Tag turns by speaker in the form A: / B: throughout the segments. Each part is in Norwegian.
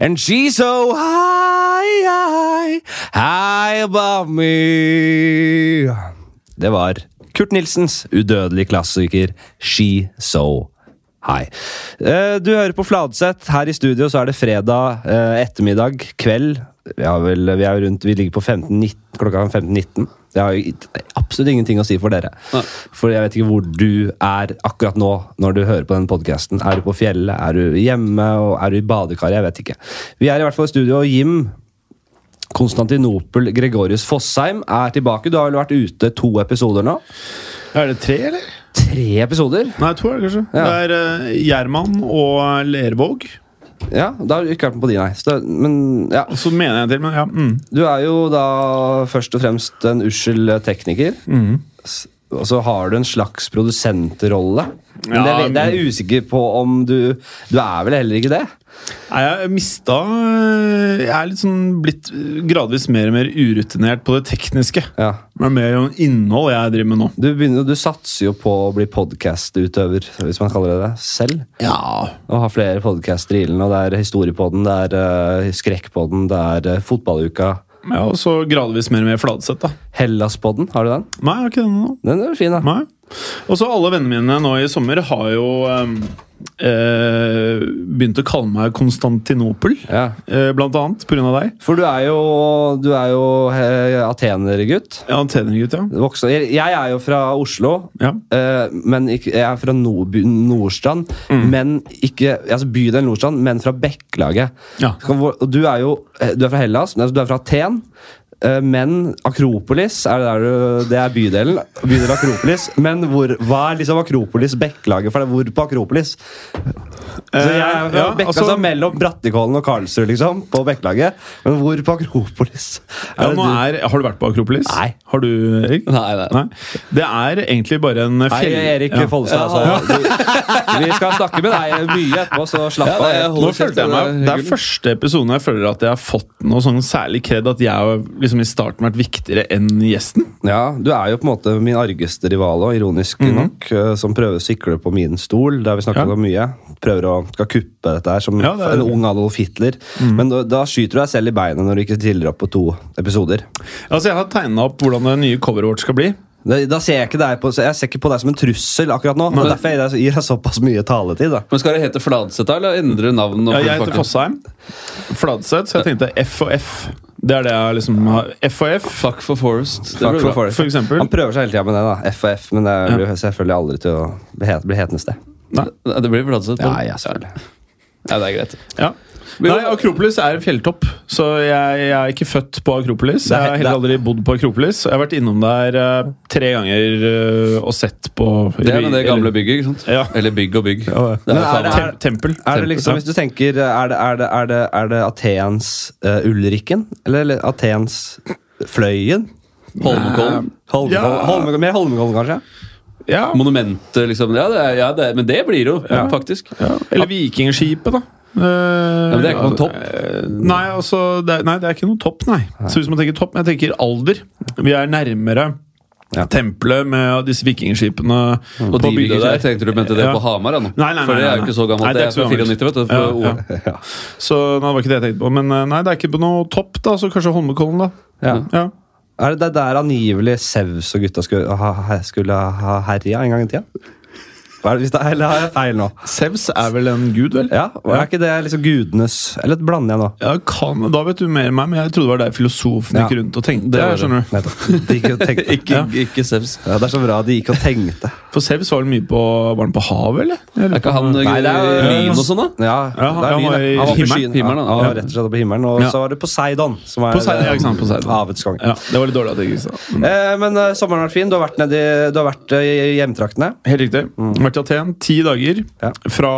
A: And she's so high, high, high above me. Det var Kurt Nilsens udødelige klassiker She So High. Eh, Du hører på Fladseth. Her i studio så er det fredag eh, ettermiddag, kveld. Vi, har vel, vi, er rundt, vi ligger på 15, klokka 15.19. Det har jo i- absolutt ingenting å si for dere.
B: Nei.
A: For jeg vet ikke hvor du er akkurat nå når du hører på den podkasten. Er du på fjellet? Er du hjemme? Og er du i badekaret? Jeg vet ikke. Vi er i hvert fall i studio, og Jim Konstantinopel Gregorius Fossheim er tilbake. Du har vel vært ute to episoder nå?
B: Er det tre, eller?
A: Tre episoder?
B: Nei, to er det kanskje.
A: Ja.
B: Det er uh, Gjerman og Lervåg.
A: Ja, da har du ikke vært med på de, nei. Så, det- men ja,
B: Og så mener jeg en til, men ja. Mm.
A: du er jo da først og fremst en ussel tekniker. S- Og så har du en slags produsentrolle. Men
B: Ja,
A: det, er- det er jeg usikker på om du Du er vel heller ikke det?
B: Nei, jeg mista øh, Jeg er litt sånn blitt øh, gradvis mer og mer urutinert på det tekniske.
A: Ja.
B: Det er mer om innhold jeg driver med nå.
A: Du, begynner, du satser jo på å bli podkastutøver, hvis man kaller det det, selv.
B: Ja.
A: Og har flere podkaster i ilden. og Det er Historiepodden, det er uh, Skrekkpodden, det er eh, Fotballuka.
B: Og så gradvis mer og mer Fladseth, da.
A: Hellaspodden, har du den?
B: Nei, jeg har ikke den ennå.
A: Den er jo fin, da.
B: Nei. Og så alle vennene mine nå i sommer har jo øhm, øh, begynt å kalle meg Konstantinopel.
A: Ja.
B: øh, Blant annet pga. deg.
A: For du er jo, du er jo eh, atenergutt.
B: Ja, Tenergutt, ja.
A: Voksen- Jeg, jeg er jo fra Oslo,
B: ja.
A: eh, men ikke, jeg er fra Nord- by- Nordstrand.
B: Mm.
A: Men ikke, altså bydelen Nordstrand, men fra Bekkelaget.
B: Ja.
A: Så kan hvor- Og du er jo eh, du er fra Hellas, men altså, du er fra Aten. eh, Men Akropolis er det, der du, det er bydelen. Bydel Akropolis. Men hvor, hva er liksom Akropolis Bekkelaget? For det er hvor på Akropolis? Så jeg er fra
B: Eh, ja,
A: Bekka,
B: altså-
A: så mellom Brattekollen og Karlsrud, liksom, på Bekkelaget. Men hvor på Akropolis?
B: Ja,
A: det
B: nå
A: du-
B: er, har du vært på Akropolis?
A: Nei.
B: Har du, Erik?
C: Nei, nei.
B: Det er egentlig bare en
A: Nei,
B: fjell...
A: Erik
B: Ja.
A: Follestad, altså. Du, vi skal snakke med deg mye etterpå, så slapp
C: Ja,
A: av.
C: nei, jeg
B: Nå
C: holder kjeft,
B: følte jeg meg, Det er
C: hyggelig.
B: første episoden jeg føler at jeg har fått noe sånn særlig kred. At jeg har liksom i starten vært viktigere enn gjesten.
A: Ja, Du er jo på en måte min argeste rival òg, ironisk nok. eh, Som prøver å sikle på min stol, der vi snakker
B: Mhm. Ja.
A: om mye. Prøver å skal kuppe dette her, som
B: Ja, det er- Mhm.
A: en ung Adolf Hitler. Men da, da skyter du deg selv i beinet når du ikke stiller opp på to episoder.
B: Altså Jeg har tegna opp hvordan det nye coveret vårt skal bli.
A: Da, da ser jeg, ikke deg på, jeg ser ikke på deg som en trussel akkurat nå. og Derfor gir jeg deg- gir jeg såpass mye taletid. da
C: Men Skal det hete Fladseth, da, eller endre navn? og
B: Ja, jeg heter
C: fullpakke?
B: Fossheim. Fladseth, så jeg tenkte F og F. Det er det jeg liksom har. F og F.
C: Fuck for Forest. Det
A: Fuck
C: blir
A: for
C: bra.
A: Forest.
B: for eksempel.
A: Han prøver seg hele tida med det, da. FAF, men det blir jo selvfølgelig aldri til å bli, het, bli hetende sted.
C: Nei, Det blir Fladseth. da.
A: Ja, ja, selvfølgelig.
C: Ja, det er greit.
B: Ja. Nei, Akropolis er en fjelltopp, så jeg, jeg er ikke født på Akropolis. Jeg har heller aldri bodd på Akropolis. Jeg har vært innom der eh, tre ganger eh, og sett på
C: Det er med det gamle bygget, ikke sant?
B: Ja.
C: Eller bygg og bygg.
A: Men
C: jo
A: er
C: faen-
A: det-
B: Tem
A: Er
B: tempel.
A: det
B: Tempel,
A: liksom,
B: ja.
A: Hvis du tenker Er det, er det, er det, er det Athens eh, Ulrikken? Eller, eller Athens eh, Fløyen? Um,
C: Holmenkollen.
A: Holmenkollen,
B: Ja.
A: Holmenkollen- mer Holmenkollen, kanskje?
B: ja.
C: Monumentet, liksom. Ja, det er, ja det er, men det blir det jo, faktisk.
B: ja. Eller Vikingskipet, da.
C: Ja, men det er ikke noen topp.
B: Nei, altså, det er, nei, det er ikke noe topp, nei. Så hvis man tenker topp, men jeg tenker alder. Vi er nærmere
A: Ja.
B: tempelet med disse vikingskipene. på
C: Og de bygde
B: bygda
C: Mm. der,
B: der.
C: tenkte du mente det
B: Ja.
C: på Hamar? ja, nå?
B: Nei, nei, nei,
C: For det
B: nei,
C: er jo
B: nei.
C: ikke så gammelt.
B: Nei,
C: det
B: det er
C: er
B: ikke
C: fra
B: så
C: 94, vet du.
B: Ja,
C: For
B: ja.
C: ordet.
A: Ja.
B: Så nei, det var ikke det jeg tenkte på. Men eh, nei, det er ikke på noe topp, da. Så kanskje Holmenkollen, da.
A: Ja.
B: Ja.
A: Er det, det er der angivelig Sevs og gutta skulle ha, ha- skulle ha herja en gang i tida? Hva er det- hvis det- Eller har jeg feil nå?
B: Sevs er vel en gud, vel?
A: Ja, og Er ikke det liksom gudenes Eller blander jeg nå?
B: Ja, kan, da vet du mer enn meg, men jeg trodde det var der filosofen gikk
A: Ja.
B: rundt og tenkte.
C: Det er det.
B: skjønner du
A: Nettopp. De gikk og tenkte.
C: Ikke, ikke Sevs.
A: Ja, det er så bra de gikk og tenkte.
B: For Sevs var vel mye på Var han på havet, eller?
C: Er ikke han eh,
A: Nei, det er jo-
C: lyn og sånn, da?
A: Ja,
B: Ja,
A: det er
B: han
A: mye,
B: var
A: det.
B: i
A: han var på
B: himmelen.
A: skyen. ja,
C: Himmelen, da.
A: han var rett og slett på himmelen. Og
B: Ja.
A: så var det Poseidon, som er
B: Poseidon, ja, ikke sant, Poseidon.
A: eh, havets konge.
B: Ja, det var litt dårlig at jeg ikke sa det.
A: Eh, men eh, sommeren har vært fin. Du har vært, nedi, du har vært eh, i hjemtraktene.
B: Helt riktig.
C: Mm.
B: Vært i Aten ti dager.
A: Ja.
B: Fra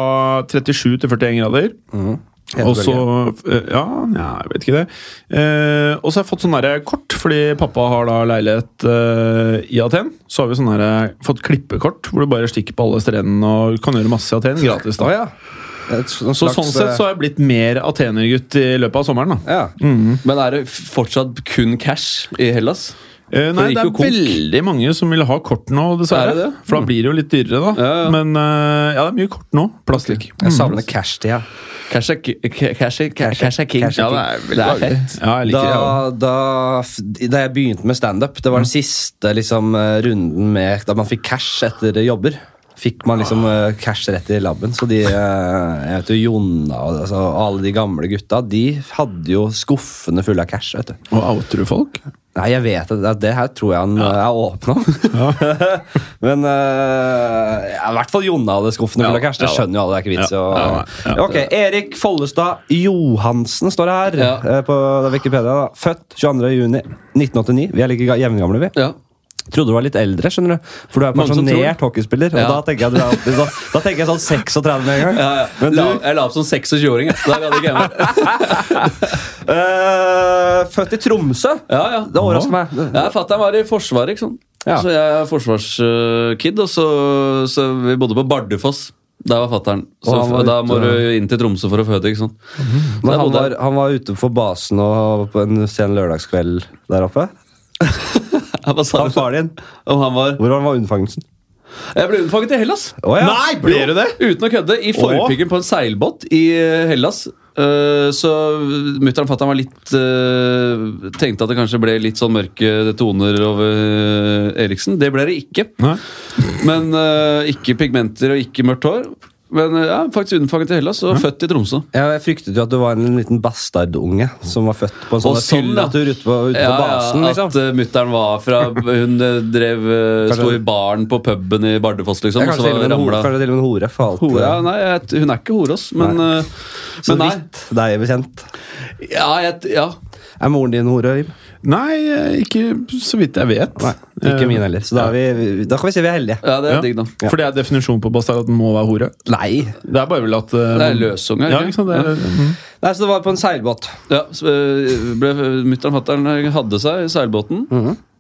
B: 37 til 41 grader.
C: Mm.
A: Helt
B: Og så eh, Ja, ja, jeg vet ikke det. Eh, og så har jeg fått sånn derre kort, fordi pappa har da leilighet eh, i Aten. Så har vi sånn derre fått klippekort, hvor du bare stikker på alle strendene og kan gjøre masse i Aten gratis.
A: Å
B: da
A: ja. Et s- noen
B: Så
A: slags,
B: sånn
C: eh,
B: sett så Mm. har jeg blitt mer atenergutt i løpet av sommeren. da
A: eh, ja.
C: Men er det f- fortsatt kun cash i Hellas?
B: Eh, nei, det
C: det gikk
B: er
C: jo konk.
B: veldig mange som vil ha kort nå, dessverre.
C: Er det det?
B: For da blir det jo litt dyrere, da.
C: Ja, ja.
B: Men eh, ja, det er mye kort nå. Plastikk.
A: Jeg savner cash-tida.
C: Cash er ki- k- cash er- ca- cash er king.
A: Cash er
C: Ja, det er, det er fett.
B: Ja, Mm. jeg liker det. jeg også.
A: Da, da, f- da jeg begynte med standup, det var den siste liksom, eh, runden med da man fikk cash etter jobber. Fikk man liksom eh, cash rett i labben. Så de eh, jeg vet jo, Jonna og altså, alle de gamle gutta, de hadde jo skuffene fulle av cash. vet du.
B: Og outer du folk?
A: Nei, jeg vet at at det her tror jeg han eh, er åpna. Men eh, ja, i hvert fall Jonna hadde skuffene fulle av cash. Det
C: ja da.
A: skjønner jo alle. det er ikke vits i
B: Ja, ja,
A: å Ok, Erik Follestad Johansen står det her
C: Ja.
A: eh, på Wikipedia. da. Født 22.6.1989. Vi er like ga- jevngamle, vi.
C: Ja.
A: Trodde du var litt eldre, skjønner du. For du er
C: Mange som
A: pensjonert hockeyspiller. Og
C: Ja.
A: da tenker jeg, du er alltid, da, da tenker jeg sånn 36 med en gang.
C: Ja, ja.
A: Men
C: La,
A: du,
C: jeg la opp som 26-åring. jeg. Der hadde ikke jeg vært.
A: eh, født i Tromsø.
C: Ja, ja.
A: Det overrasker meg.
C: Ja, Fatter'n var i Forsvaret, ikke sant.
A: Ja.
C: Så jeg er forsvarskid, og så, så vi bodde på Bardufoss. Der var Mhm. fatter'n. Så
A: Og han var
C: f- da må
A: ute-
C: du inn til Tromsø for å føde, ikke sant. Så
A: Men
C: jeg
A: han
C: bodde-
A: var, han var ute for basen og på en sen lørdagskveld der oppe.
C: Ja, hva sa
A: Han
C: du?
A: far din.
C: Om han var
A: Hvordan var unnfangelsen?
C: Jeg ble unnfanget i Hellas!
A: Å ja.
B: Nei, ble du det?
C: Uten å kødde. I forpiken på en seilbåt i eh, Hellas. Eh, så mutter'n og fatter'n var litt eh, Tenkte at det kanskje ble litt sånn mørke toner over eh, Eriksen. Det ble det ikke.
B: Nei.
C: Men eh, ikke pigmenter og ikke mørkt hår. Men eh, ja, faktisk unnfanget i Hellas og født i Tromsø.
A: Jeg fryktet jo at du var en liten bastardunge som var født på en
C: Og
A: sånn
C: sånn, ja.
A: fyllatur ute på, ute på basen. liksom.
C: At uh, mutter'n var fra Hun eh, drev eh,
A: Kanskje-
C: sto i baren på puben i Bardufoss, liksom.
A: Jeg er
C: og så
A: kanskje, til og med en hore,
C: ramla-
A: kanskje til og med en hore for alt
C: Hore, ja,
A: eh,
C: nei, jeg, hun er ikke hore, ass. Men,
A: Nei.
C: eh,
A: så
C: men nei.
A: vidt deg bekjent.
C: Ja, jeg, ja.
A: Er moren din hore, Øyvind?
B: Nei, eh, ikke så vidt jeg vet.
A: Nei, ikke
B: Eh,
A: min heller. Så da, er vi, vi- da kan vi si vi er heldige.
C: ja, det er
B: Ja.
C: digg, da.
B: For det er definisjonen på bastard at den må være hore?
A: Nei.
B: Det er bare vel at eh,
C: Det er løsunge,
B: Ja,
C: ikke?
B: ikke sant? Det er, mhm.
A: Nei, Så det var på en seilbåt.
C: Ja, så, eh, ble, Mutter'n og fatter'n eh, hadde seg i seilbåten,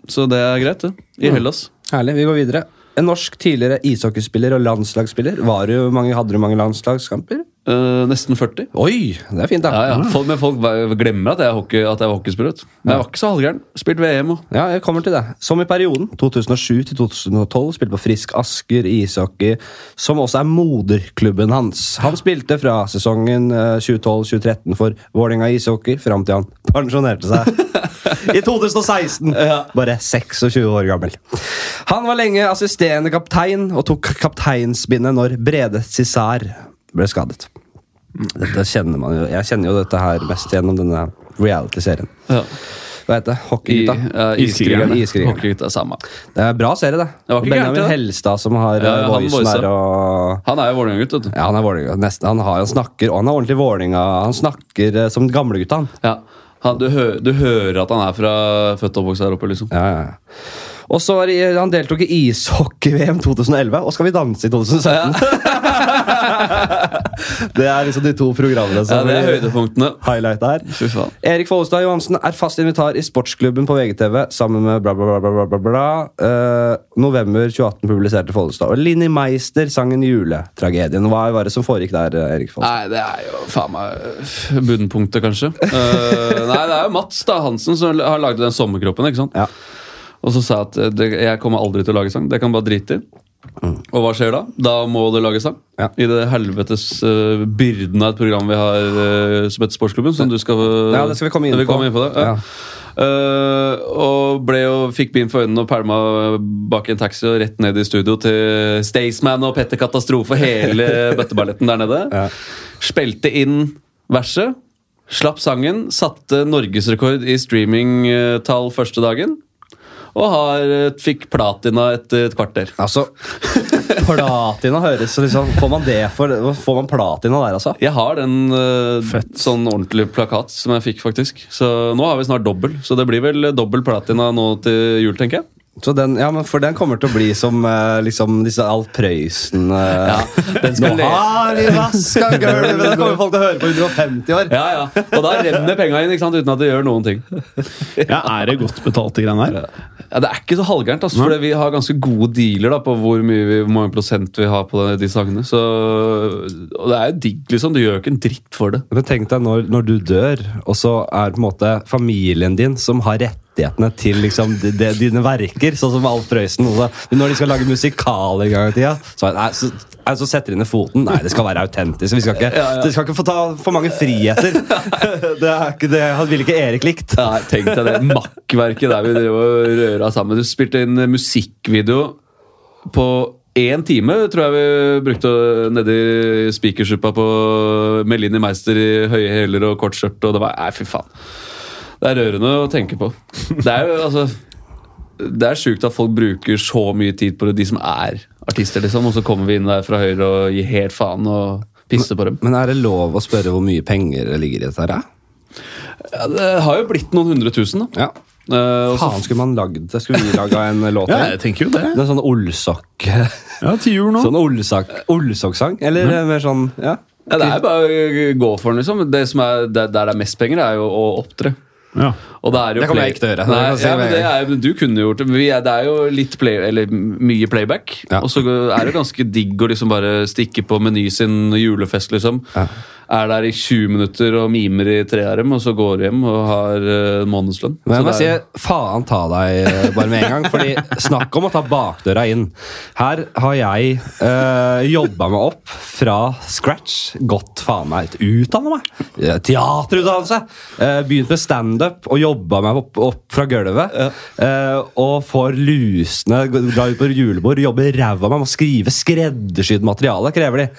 C: så det er greit, det. I Hellas.
A: Herlig. Vi går videre. En norsk tidligere ishockeyspiller og landslagsspiller. Var du mange, hadde du mange landslagskamper?
C: Eh, nesten 40.
A: Oi, det er fint, da.
C: Ja, ja. Folk, men folk var- glemmer at jeg, er hockey, at jeg var hockeyspiller. vet du. Jeg var ikke så halvgæren. Spilt VM og
A: Ja, jeg kommer til det. Som i perioden 2007 til 2012 spilte på Frisk Asker i ishockey, som også er moderklubben hans. Han spilte fra sesongen eh, 2012-2013 for Vålerenga ishockey fram til han pensjonerte seg i 2016. Bare 26 år gammel. Han var lenge assisterende kaptein og tok kapteinspinnet når Brede Cissar ble skadet. Dette kjenner man jo. Jeg kjenner jo dette her mest gjennom denne reality-serien.
C: ja.
A: Hva heter det?
C: I-
A: Hockeygutta?
C: ja, Iskrigerne.
A: Iskrigerne.
C: Hockeygutta, samme.
A: Det er bra serie, det.
C: Det var
A: Og
C: ikke gærent,
A: Benjamin
C: det.
A: Helstad som har
C: Ja,
A: eh,
C: han
A: voicen
C: voisa.
A: der. Og
C: Han er jo Vålerenga-gutt, vet du.
A: ja, han er Vålerenga. Nesten. Han, har, han snakker og han er ordentlig Vålerenga. Han snakker eh, som gamlegutta, han.
C: Ja. Han, du, hø, du hører at han er fra født og oppvokst her oppe, liksom.
A: Ja, ja, ja. Og så er, det- eh, han deltok i ishockey-VM 2011 og Skal vi danse i 2017. det er liksom de to programmene
C: Ja,
A: som
C: det er
A: blir
C: høydepunktene.
A: highlightet her.
C: Fy faen.
A: Erik Follestad Johansen er fast invitar i Sportsklubben på VGTV sammen med bla, bla, bla, bla, bla, bla, bla. Eh, november 2018 publiserte Follestad. Og Linni Meister sang en juletragedien. Hva var det som foregikk der, eh, Erik Follestad?
C: Nei, det er jo faen meg øh, bunnpunktet, kanskje. Eh, nei, det er jo Mats da, Hansen som har laget den sommerkroppen. ikke sant?
A: Ja.
C: Og så sa jeg at eh, det, jeg kommer aldri til å lage sang. Det kan jeg bare drite i. Og hva skjer da? Da må du lage sang.
A: Mm. Ja.
C: I det helvetes eh, byrden av et program vi har eh, som heter Sportsklubben. Som du skal eh,
A: Ja, det skal vi komme inn
C: vi
A: på.
C: kommer inn på det. Ja.
A: Ja.
C: Eh, og ble jo, fikk bind for øynene og pælma bak i en taxi og rett ned i studio til Staysman og Petter Katastrofe og hele bøtteballetten der nede.
A: Ja.
C: Spilte inn verset, slapp sangen, satte norgesrekord i streamingtall første dagen. Og har, eh, fikk platina etter et kvarter.
A: Altså, platina høres så liksom, Får man det for Får man platina der, altså?
C: Jeg har den eh, sånn ordentlig plakat som jeg fikk, faktisk. Så nå har vi snart dobbel. Så det blir vel dobbel platina nå til jul, tenker jeg.
A: Så den, ja, men for den kommer til å bli som eh, liksom, disse Alf Prøysen eh,
C: skal
A: Nå
C: le-
A: har vi vaska gulvet! Den kommer folk til å høre på 150 år.
C: Ja, ja. Og da renner penga inn ikke sant? uten at det gjør noen ting.
B: ja, er det godt betalte greiene her?
C: Ja, Det er ikke så halvgærent, altså, for vi har ganske gode dealer da, på hvor mye vi, hvor mange prosent vi har på de, de sangene. Så, og det er jo digg, liksom. Du gjør jo ikke en dritt for det.
A: Men tenk deg når, når du dør, og så er det på en måte familien din som har rett rettighetene til liksom, de, de, dine verker, sånn som Alf Prøysen. og så- Men når de skal lage musikal en gang i tida, så, nei, så, nei, så setter de ned foten. Nei, det skal være autentisk. Vi skal ikke, Det skal ikke få ta for mange friheter. Det, er ikke, det ville ikke Erik likt.
C: Nei, tenk deg det makkverket der vi drev og røra sammen. Du spilte inn musikkvideo på én time, tror jeg vi brukte nedi spikersuppa på Melini Meister i høye hæler og kort skjørt, og det var Nei, fy faen. Det er rørende å tenke på. Det er jo altså Det er sjukt at folk bruker så mye tid på det, de som er artister, liksom, og så kommer vi inn der fra høyre og gir helt faen og pisser på dem.
A: Men er det lov å spørre hvor mye penger det ligger i dette? her?
C: Ja, det har jo blitt noen hundre tusen, da.
A: Ja.
C: Eh, og så
A: Faen, skulle man lagd det? Skulle vi laga en låt?
B: Ja,
A: her?
B: jeg tenker jo det.
A: Det er sånn Olsok
B: Ja, til jul nå.
A: Sånn Olsok- Olsok-sang? Eller eh, mer sånn Ja.
C: Ja, det er bare å gå for den, liksom. Det som er, der der det er mest penger, er jo å opptre.
B: Ja.
C: Og det, er jo
A: Det kommer
C: play-
A: jeg ikke til å gjøre.
C: Nei,
A: Det kan jeg si
C: ja,
A: med
C: men
A: en
C: det er, men du kunne gjort det. Vi er, det er jo litt play, eller mye playback.
A: Ja.
C: Og så er det ganske digg å liksom bare stikke på Meny sin julefest, liksom. Er der i 20 minutter og mimer i tre av dem, og så går du hjem og har eh, månedslønn.
A: Men jeg
C: Så
A: må si
C: det er-
A: faen ta deg eh, bare med en gang. Fordi Snakk om å ta bakdøra inn. Her har jeg eh, jobba meg opp fra scratch. Gått faen meg ut. Utdanna meg. Eh, Teaterutdannelse. Eh, begynt med standup og jobba meg opp, opp fra gulvet. Eh, og får lusne Dra ut på julebord, jobbe ræva av meg, må skrive skreddersydd materiale. krever de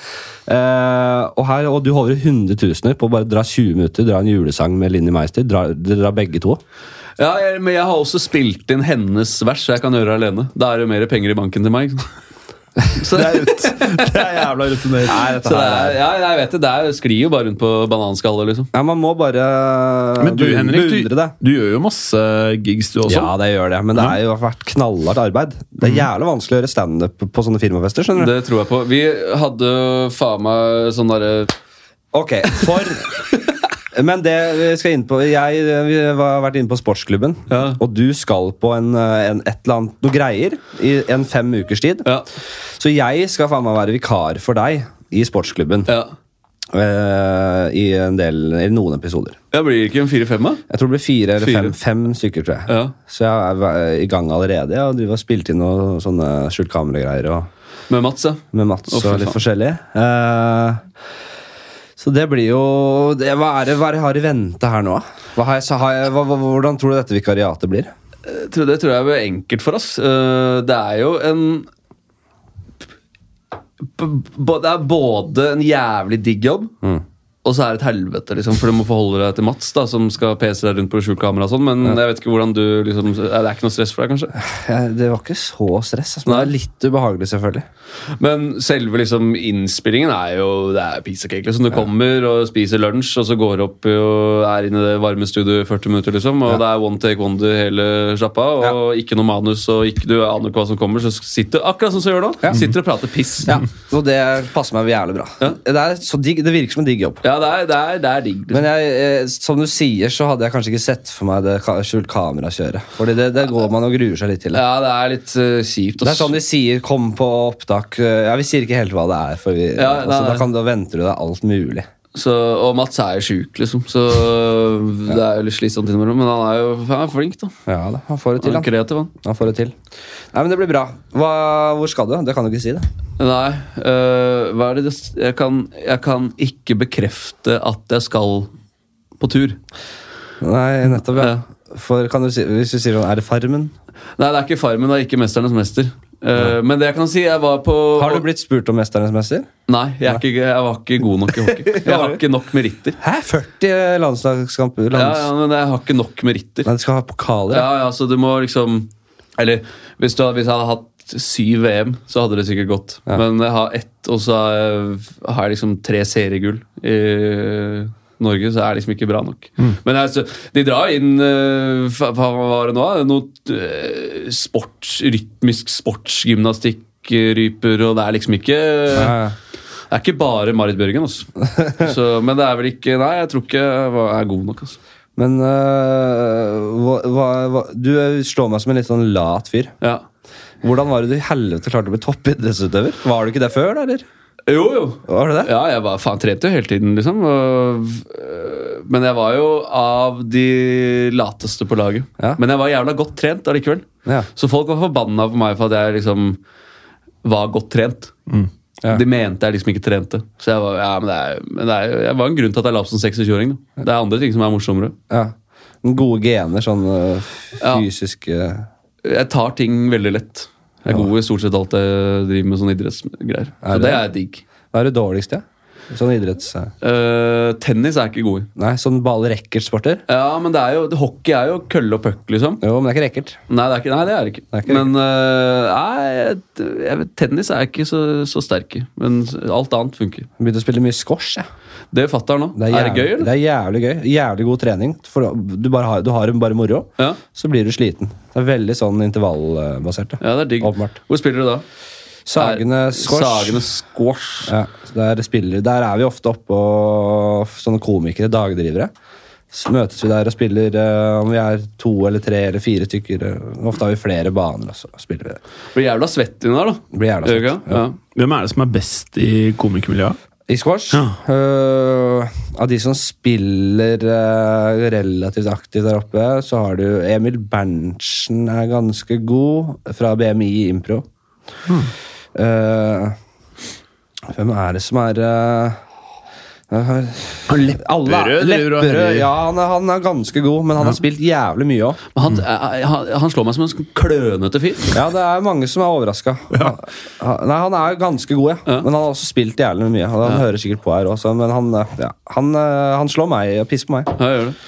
A: Eh, og, her, og du holder hundretusener på å bare dra 20 minutter, dra en julesang med Linni Meister. Dra, dra begge to.
C: ja, jeg, men jeg har også spilt inn hennes vers, så jeg kan gjøre det alene. Da er det jo mer penger i banken til meg. ikke sant? Så, det er ut.
B: Det er jævla rutinert.
C: Så det er, ja, jeg vet det. Det er, sklir jo bare rundt på bananskallet, liksom.
A: Ja, man må bare
B: Men du,
A: beund-
B: Henrik, du,
A: beundre det.
B: du gjør jo masse gigs, du også.
A: Ja, det gjør det, men det har jo vært knallhardt arbeid. Det er jævlig vanskelig å gjøre standup på sånne firmafester. skjønner du?
C: Det tror jeg på. Vi hadde faen meg sånn derre
A: Ok, for Men det vi skal inn på Jeg eh, vi har vært inne på sportsklubben,
C: Ja.
A: og du skal på en, eh, en, et eller annet, noe greier i en fem ukers tid.
C: Ja.
A: Så jeg skal faen meg være vikar for deg i sportsklubben.
C: ja.
A: eh, I en del, i noen episoder.
C: Jeg blir ikke en fire-fem, da?
A: Jeg tror det blir fire eller
C: Fire.
A: Fem, fem stykker, tror jeg.
C: Ja.
A: Så jeg er i gang allerede. Jeg driver og spilt inn noen sånne skjult kamera-greier og-
C: Med Mats, ja.
A: med Mats
C: Å, fy
A: og litt
C: faen.
A: forskjellig. Eh, så det blir jo det, hva, er det, hva er det jeg har i vente her nå? Hva har jeg, så har jeg, hva, hva, hvordan tror du dette vikariatet blir?
C: Jeg Eh, tror- Det tror jeg er enkelt for oss. Eh, Det er jo en b- b- Det er både en jævlig digg jobb, og så er det et helvete, liksom. For du må forholde deg til Mats, da, som skal pese deg rundt på skjult kamera og sånn. Men jeg vet ikke hvordan du liksom Det er ikke noe stress for deg, kanskje?
A: Eh, Det var ikke så stress, altså, men det er litt ubehagelig, selvfølgelig.
C: Men selve liksom innspillingen er jo Det er piece of cake. liksom Du kommer og spiser lunsj, og så går du opp og er inne i det varme studioet i 40 minutter. liksom Og det er one take wonder hele sjappa, og ikke noe manus. Og ikke, du aner ikke hva som kommer, så sitter du akkurat sånn som du gjør nå. Sitter og prater piss.
A: Ja, Og det passer meg jævlig bra. Det, er så digg, det virker som en digg jobb.
C: Ja, det, er, det, er, det er digg. Liksom.
A: Men jeg, eh, som du sier, så hadde jeg kanskje ikke sett for meg det ka- skjult kamera-kjøret. Fordi det, det går man og gruer seg litt til.
C: Ja, det er litt eh, kjipt.
A: Det
C: ass.
A: er sånn de sier 'kom på opptak' eh, Ja, Vi sier ikke helt hva det er, for vi,
C: Ja, nei,
A: altså, da,
C: nei.
A: kan, da venter du deg alt mulig.
C: Så, og Mats er jo sjuk, liksom. Så det er jo litt slitsomt innimellom. Men han er jo han er flink, da.
A: Ja da, han får det til,
C: Han er
A: han.
C: kreativ, han.
A: han får det til. Nei, men Det blir bra. Hva, hvor skal du? Det kan du ikke si, det.
C: Nei. øh, hva er det det s- jeg kan, jeg kan ikke bekrefte at jeg skal på tur.
A: Nei, nettopp, ja.
C: Ja.
A: For kan du si, Hvis du sier sånn, er det Farmen?
C: Nei, det er ikke Farmen, det er ikke Mesternes mester. Øh, men det jeg kan si, jeg var på
A: Har du blitt spurt om 'Mesternes mester'?
C: Nei, jeg, er ikke, jeg var ikke god nok i hockey. Jeg har ikke nok meritter.
A: Hæ? 40 landslagskamper?
C: Ja,
A: Lands...
C: ja, men jeg har ikke nok meritter.
A: Nei, du skal ha pokaler? ja.
C: Ja, ja, så du må liksom Eller hvis, du, hadde- hvis jeg hadde hatt syv VM, så hadde det sikkert gått. Men jeg har ett, og så har jeg- har jeg liksom tre seriegull i Norge, så er det liksom ikke bra nok. Men altså, de drar inn eh, fa- fa- Hva var det nå? da? Noe eh, sports, rytmisk sportsgymnastikk. eh, Ryper, og det er liksom ikke
A: Ja, ja.
C: Det er ikke bare Marit Bjørgen, altså. Så, men det er vel ikke Nei, jeg tror ikke jeg var- er god nok, altså.
A: Men øh, hva, hva, hva, du slår meg som en litt sånn lat fyr.
C: Ja.
A: Hvordan var det du i helvete klarte å bli toppidrettsutøver? Var du ikke det før, da? eller?
C: Jo, jo.
A: Var du det?
C: Ja, jeg var faen trente jo hele tiden, liksom. Og, øh, Men jeg var jo av de lateste på laget.
A: Ja.
C: Men jeg var jævla godt trent allikevel.
A: Ja.
C: Så folk var forbanna på meg for at jeg liksom var godt trent.
A: Mm. Ja.
C: De mente jeg liksom ikke trente. Så jeg var, ja, men det er, men det er, jeg var en grunn til at jeg la opp som 26-åring. da. Det er andre ting som er morsommere.
A: Ja. Den Gode gener, sånn eh, øh,
C: Ja.
A: fysiske
C: Jeg tar ting veldig lett. Jeg er god i stort sett alt jeg driver med sånn idrettsgreier.
A: Er
C: Så det er digg.
A: Hva er det dårligste? Sånn idretts... øh,
C: Eh, tennis er jeg ikke god i.
A: Nei, sånn ballrekkertsporter?
C: Ja, men det er jo, hockey er jo kølle og puck, liksom.
A: Jo, men det er ikke racket.
C: Nei, det er ikke, nei, det er det ikke.
A: Det er ikke
C: men øh, nei, jeg, jeg, vet, tennis er jeg ikke så, så sterk i. Men alt annet funker.
A: Jeg Begynte å spille mye squash. jeg.
C: Det fatter nå.
A: Det er,
C: er det gøy, eller?
A: Det er jævlig gøy. Jævlig god trening. For du, bare har, du har bare moro,
C: Ja.
A: så blir du sliten. Det er veldig sånn intervallbasert.
C: ja, det er digg.
A: Åpenbart.
C: Hvor spiller du da?
A: Sagene
C: Er-
A: squash.
C: Sagene squash.
A: Ja, så der, spiller, der er vi ofte oppe og sånne komikere, dagdrivere. Så møtes vi der og spiller eh, om vi er to eller tre eller fire stykker. eh, Ofte har vi flere baner, og så spiller vi det.
C: Blir jævla svett inni der, da.
A: Det Blir jævla
C: Gjør du
A: søtt.
C: ikke det? Ja.
B: Hvem er det som er best i komikermiljøet?
A: I squash?
B: Ja.
A: øh, av de som spiller øh, relativt aktivt der oppe, så har du Emil Berntsen er ganske god, fra BMI Impro.
B: Hmm.
A: Eh, hvem er det som er øh, øh, alle er-
B: Lepperød, lurer jeg.
A: Lepperød, ja, han er, han er ganske god, men han har spilt jævlig mye òg.
C: Men Han, jeg- han, han slår meg som en sånn klønete fyr.
A: Ja, det er mange som er overraska. Nei, han er ganske god, ja.
C: Ja.
A: Men han har også spilt jævlig mye. Han hører sikkert på her også, men han, eh, ja. han, eh, han slår meg og pisser på meg.
C: Ja, jeg gjør det.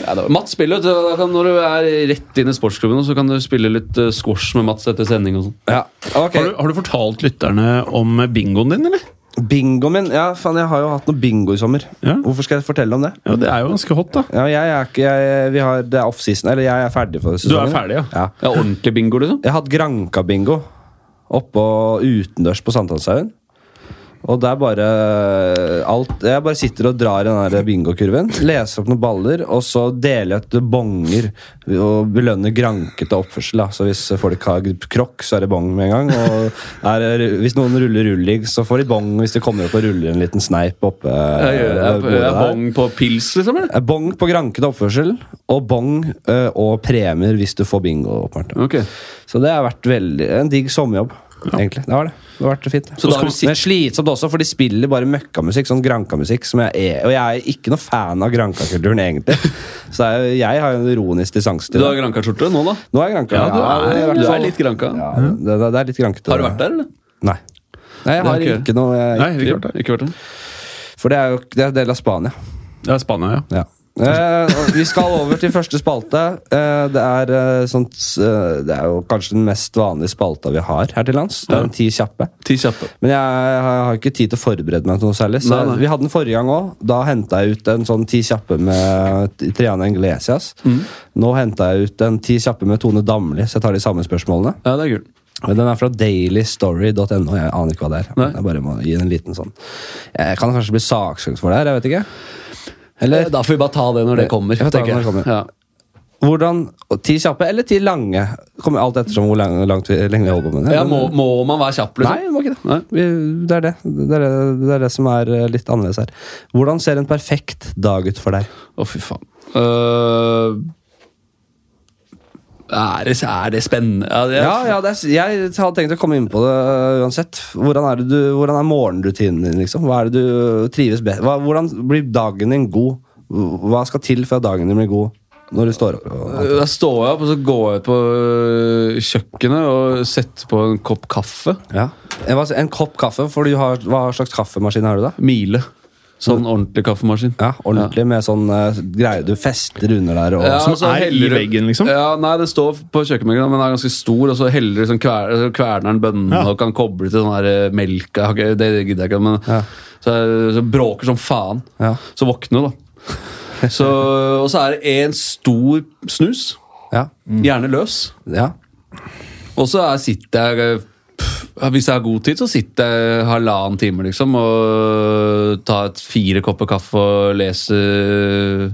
C: Ja, da, Mats spiller, vet du. Da kan, når du er rett inn i sportsklubben, så kan du spille litt eh, squash med Mats etter sending og sånn.
A: Ja, ok.
B: Har, du, har du fortalt lytterne om bingoen din, eller?
A: Bingoen min Ja, faen, jeg har jo hatt noe bingo i sommer.
B: Ja.
A: Hvorfor skal jeg fortelle om det?
B: Ja, Det er jo ganske hot, da.
A: Ja, jeg er ikke jeg, vi har, Det er offseason. Eller jeg er ferdig for
B: Du
A: sesongen.
B: er ferdig, ja.
A: Ja.
C: Ja, ordentlig bingo, liksom.
A: Jeg har hatt Granka-bingo oppå utendørs på Sankthanshaugen. Og det er bare alt Jeg bare sitter og drar i den der bingokurven, leser opp noen baller, og så deler jeg ut bonger og belønner grankete oppførsel. Da. Så hvis folk har krokk, så er det bong med en gang. Og er, hvis noen ruller rullig, så får de bong hvis de kommer opp og ruller en liten sneip oppe. eh,
C: Jeg, gjør, jeg, jeg,
A: bordet
C: er
A: der.
C: bong på pils, liksom? eller?
A: Eh, Bong på grankete oppførsel, og bong eh, og premier hvis du får bingo. Oppmærkt.
C: Ok.
A: Så det har vært veldig, en digg sommerjobb, egentlig. Det har det. Det har vært fint.
C: Så da har du sitt-
A: Men slitsomt også, for de spiller bare møkkamusikk, sånn grankamusikk, som jeg er. Og jeg er ikke noe fan av grankakulturen, egentlig. Så det er, jo- jeg har jo en ironisk distanse
C: Du
A: til
C: har
A: det.
C: granka-skjorte nå, da?
A: Nå er jeg granka.
C: Ja, du
A: i
C: er,
A: hvert
C: du
A: fall.
C: er litt granka.
A: ja, det, det, det er litt grankete.
C: Har du vært der, eller?
A: Nei. Nei, jeg har
C: Det er ikke-
A: ikke noe jeg,
B: Nei, det er klart det.
C: Ikke vært der.
A: For det er jo det er en del av Spania.
B: Det er Spania, ja.
A: Ja. Eh, og vi skal over til første spalte. Eh, det, er, eh, sånt, eh, det er jo kanskje den mest vanlige spalta vi har her til lands. Det er en ti kjappe.
C: Ti kjappe.
A: Men jeg har har ikke tid til å forberede meg til noe særlig. Så
C: Nei, nei.
A: Vi hadde den forrige gang òg. Da henta jeg ut en sånn ti kjappe med T- Triana Inglesias.
C: Mm.
A: Nå henta jeg ut en ti kjappe med Tone Damli, så jeg tar de samme spørsmålene.
C: Ja, det er gull.
A: Men Den er fra dailystory.no. Jeg aner ikke hva det er.
C: Nei.
A: Jeg bare må gi en liten sånn Jeg kan kanskje bli saksøkt for det her, jeg vet ikke. Eller
C: Da får vi bare ta det når det kommer.
A: Ja, vi tar det
C: tenker jeg.
A: når det kommer.
C: Ja.
A: Hvordan, og Ti kjappe eller ti lange? Kommer alt ettersom hvor lang, langt vi, lenge vi holder på med det.
C: Ja, må, må man være kjapp,
A: Nei,
C: liksom?
A: vi må ikke det.
C: Nei.
A: Vi, det, er det. Det, er det. det er det som er eh, litt annerledes her. Hvordan ser en perfekt dag ut for deg?
C: Å, fy faen. Øh, er, det, er det spennende? Ja, det,
A: Ja, ja, det er, s- Jeg hadde tenkt å komme inn på det eh, uansett. Hvordan er, det du, hvordan er morgenrutinen din? liksom? Hva er det du trives best? Hva, hvordan blir dagen din god? Hva skal til for at dagen din blir god når du står opp? Og,
C: Da står jeg opp og så går jeg ut på øh, kjøkkenet og setter på en kopp kaffe.
A: ja. En, hva- en kopp kaffe, for du har, hva slags kaffemaskin har du da?
C: Mile. Sånn ordentlig kaffemaskin.
A: Ja, ordentlig med sånn eh, greier du fester under der. Og, sånn?
C: Ja,
B: Som
C: så
B: er i
C: heller du-
B: veggen, liksom?
C: Ja, nei, det står på kjøkkenbenken, men den er ganske stor, og så heller liksom kver, kverner den bønnene
B: Ja.
C: og kan koble til sånn her eh, melk Jeg har ikke- Det gidder jeg ikke, men
A: Ja.
C: så, jeg- så bråker som faen.
A: Ja.
C: Så våkner jeg, da. Så, og så er det en stor snus.
A: ja,
B: Mm.
C: Gjerne løs.
A: ja.
C: Og så er, sitter jeg eh, pff, Hvis jeg har god tid, så sitter jeg halvannen time liksom, og tar et fire kopper kaffe og leser eh,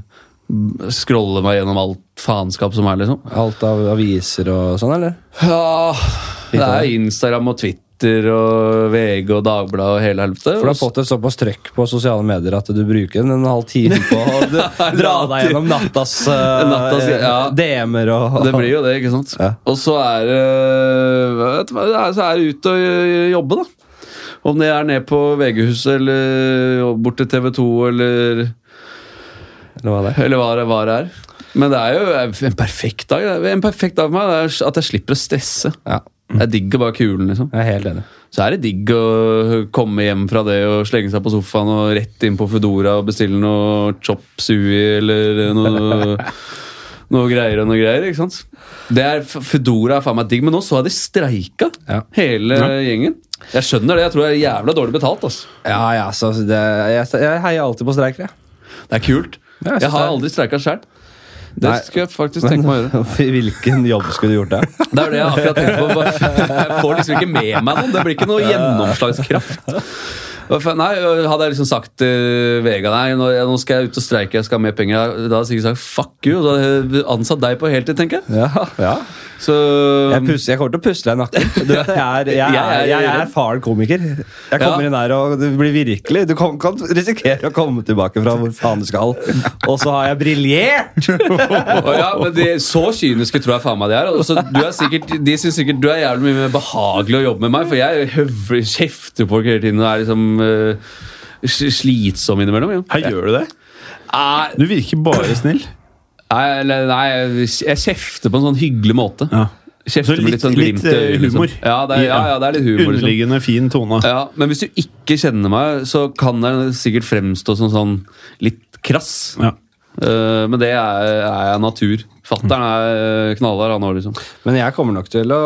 C: Scroller meg gjennom alt faenskap som er, liksom.
A: Alt av aviser og sånn, eller?
C: Ja, det
A: av
C: er Instagram og Twitter Twitter og VG og Dagbladet og hele helvete.
A: For du
C: Og
A: har
C: så-
A: fått et såpass trøkk på sosiale medier at du bruker en, en halv time på å d- dra deg gjennom nattas, eh,
C: Nattas, ja.
A: DM-er og
C: Det blir jo det, ikke sant?
A: Ja.
C: Og så er det eh, vet du hva, det er- så er det ut og eh, jobbe, da. Om det er ned på VG-huset eller bort til TV 2 eller,
A: Eller hva det er.
C: eller hva, det, hva det er. Men det er jo en perfekt dag. det er- En perfekt dag for meg det er at jeg slipper å stresse.
A: Ja,
C: Det er digg å bare kulen, liksom.
A: jeg er helt enig.
C: Så er det digg å komme hjem fra det og slenge seg på sofaen og rett inn på Foodora og bestille noe chop sui eller noe, noe greier og noe greier. ikke sant? Det er, Foodora er faen meg digg, men nå så jeg de streika,
A: Ja.
C: hele gjengen. Jeg skjønner det. Jeg tror jeg er jævla dårlig betalt. ass.
A: Ja, ja, så det, jeg, jeg heier alltid på streikere. jeg.
C: Det er kult.
A: Ja, jeg synes
C: jeg har
A: det er-
C: aldri streika sjøl. Det
A: Nei.
C: skulle jeg faktisk tenke meg å gjøre.
A: Hvilken jobb skulle du gjort da?
C: Det er det jeg akkurat tenkte på. Bare- Jeg får liksom ikke med meg noe. Det blir ikke noe gjennomslagskraft. Hva faen- Nei, Hadde jeg liksom sagt til Vega nei, nå, nå skal jeg ut og streike, jeg skal ha mer penger, da hadde jeg sikkert sagt fuck you. og Da hadde jeg ansatt deg på heltid, tenker jeg.
A: Ja, ja.
C: Så øh,
A: Jeg, pus- jeg kommer til å pusle deg i nakken. Du vet, jeg, er, jeg, er, jeg er erfaren komiker. Jeg kommer
C: Ja.
A: inn her og det blir virkelig Du kan, kan risikere å komme tilbake fra hvor faen du skal. Og så har jeg briljert!
C: Å ja, men de, Så kyniske tror jeg faen meg de er. Altså, du er sikkert, de syns sikkert du er jævlig mye mer behagelig å jobbe med meg, for jeg høvler, kjefter på folk hele tiden og er liksom eh, sl- slitsom innimellom. Jo.
B: Her gjør du det?
C: Nei,
B: Du virker bare snill.
C: Nei, eller- nei, jeg kjefter på en sånn hyggelig måte.
B: Ja. Så
C: Kjefter med
B: litt-
C: litt sånn
B: litt,
C: glimt i øyet.
B: eh, humor.
C: Liksom. Ja, det er, ja, ja, det er litt humor. Liksom.
B: Underliggende fin tone.
C: Ja, men hvis du ikke kjenner meg, så kan jeg sikkert fremstå som sånn litt krass.
B: Ja.
C: Eh, men det er, er jeg av natur. Fattern er eh, knallhard, han òg, liksom.
A: Men jeg kommer nok til å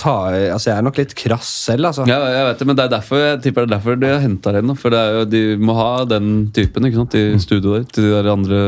A: ta i Altså, jeg er nok litt krass selv, altså.
C: Ja, jeg vet det, men det er derfor jeg tipper det er derfor de har henta henne. For det er jo, de må ha den typen ikke sant,
B: Mm.
C: i studio der, til de der andre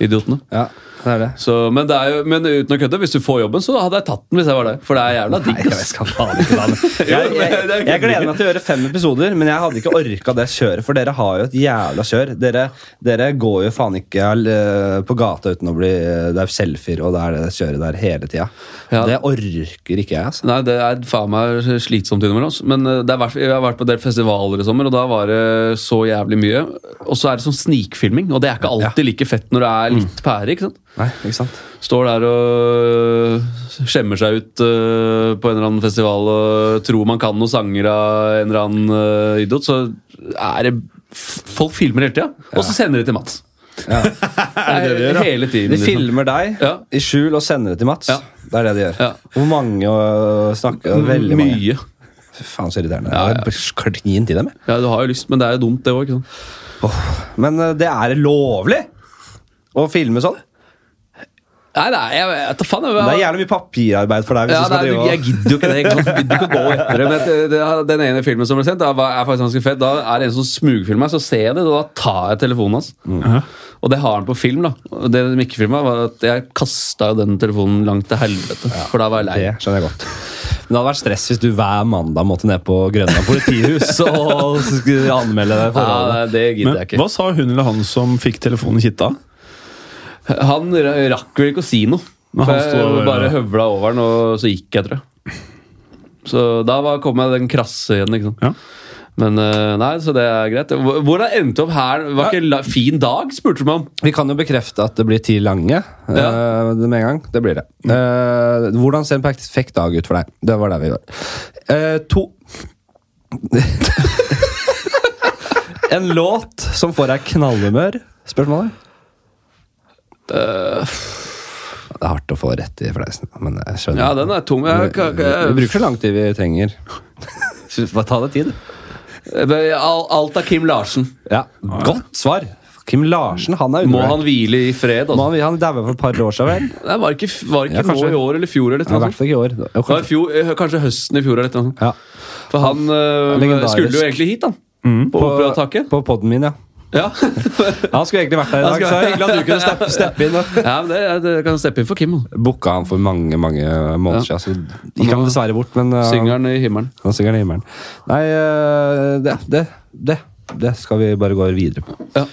C: idiotene.
A: Ja, det er det.
C: Så, men, det er jo, men uten å kødde, hvis du får jobben, så hadde jeg tatt den hvis jeg var deg. For det er jævla digg.
A: Nei, jeg
C: ass.
A: skal faen ikke da men-
C: Jo,
A: jeg,
C: men det
A: jeg,
C: er ikke
A: jeg gleder meg til å gjøre fem episoder, men jeg hadde ikke orka det kjøret. For dere har jo et jævla kjør. Dere, dere går jo faen ikke eh, på gata uten å bli eh, Det er selfier, og det er det kjøret der hele tida.
C: Ja.
A: Det orker ikke jeg, altså.
C: Nei, det er faen meg slitsomt innimellom. ass. Men eh, det er, hvert- jeg har vært på en del festivaler i sommer, og da var det så jævlig mye. Og så er det sånn snikfilming, og det er ikke alltid like fett når det er litt pære. ikke sant?
A: Nei, ikke sant?
C: Står der og eh, skjemmer seg ut eh, på en eller annen festival og tror man kan noen sanger av en eller annen eh, idiot, så er det f- Folk filmer hele tida, og så sender de til Mats.
A: Ja.
C: er
B: det de gjør, da?
C: Hele tiden.
A: De
C: liksom.
A: filmer deg
C: Ja.
A: i skjul og sender det til Mats.
C: Ja.
A: Det er det de gjør.
C: Ja.
A: Hvor mange øh, snakker Veldig mange.
C: Mye.
A: Fy Faen, så irriterende.
C: Ja, ja.
A: Jeg blir Klint i dem. jeg.
C: Ja, du har jo lyst, men det er jo dumt, det òg. ikke sant?
A: Men øh, det er lovlig å filme sånn.
C: Nei, nei, jeg vet da faen. Jeg,
A: Det er jævlig mye papirarbeid for deg. hvis
C: ja,
A: du skal
C: nei,
A: drive og-
C: jeg gidder jo ikke det. ikke sant? Jeg gidder ikke å gå etter det. Men det- det er- den ene filmen som ble sendt, da var- er faktisk ganske fett. Da er det en som smugfilmer meg, så ser jeg det, og da tar jeg telefonen hans.
A: Mm.
C: Og det har han på film, da. Og det de ikke filma, var at jeg kasta jo den telefonen langt til helvete. For da var jeg lei.
A: Det skjønner jeg godt. Men det hadde vært stress hvis du hver mandag måtte ned på Grønland politihus og skulle anmelde det forholdet.
C: Ja, det gidder
B: Men
C: jeg ikke.
B: hva sa hun eller han som fikk telefonen i kitta?
C: Han ra- rakk vel ikke å si noe.
B: Men
C: For
B: han står-
C: jeg bare høvla over den, og så gikk jeg, tror jeg. Så da var, kom jeg den krasse igjen, ikke sant.
B: Ja.
C: Men eh, nei, så det er greit. Hvor- Hvordan endte opp her? Var ikke en la- fin dag, spurte du meg om.
A: Vi kan jo bekrefte at det blir ti lange
C: Ja.
A: eh, med en gang. Det blir det. Eh, hvordan ser en perfekt dag ut for deg? Det var der vi var. Eh, to En låt som får deg knallhumør? Spørsmålet? Eh, Det er hardt å få rett i fleisen, men jeg skjønner.
C: Ja, den er tung. Jeg,
A: vi,
C: kan-
A: vi, vi
C: jeg,
A: bruker så lang tid vi trenger. Så Bare ta deg tid.
C: jeg, Eh, al- alt av Kim Larsen.
A: Ah, Ja, Godt svar! Kim Larsen, han er
C: Må han
A: undervurdert.
C: hvile i fred?
A: Må
C: Altså.
A: han, han daua for et par år siden, vel?
C: Det var ikke, var ikke
A: Ja,
C: nå
A: kanskje.
C: i år eller i fjor. Eller
A: Ja, I
C: noe
A: hvert
C: sånt.
A: fall ikke i år. Jo,
C: Det var i
A: kanskje.
C: fjor, eh, kanskje høsten i fjor. eller et eller annet.
A: Ja.
C: For han eh,
A: legendarisk. Mm.
C: skulle jo egentlig hit, han. På operataket.
A: På podden min, ja.
C: Ja.
A: Han skulle egentlig vært der i
C: Han
A: dag,
C: skulle-
A: så hyggelig at du kunne steppe, steppe inn. og-
C: ja, men det, det kan steppe inn for Kim. han.
A: Booka han for mange mange måneder siden. Så gikk han dessverre bort, men uh,
C: Syngeren i himmelen.
A: han synger den i himmelen. Nei, uh, det, det, det, det skal vi bare gå videre på.
C: Ja.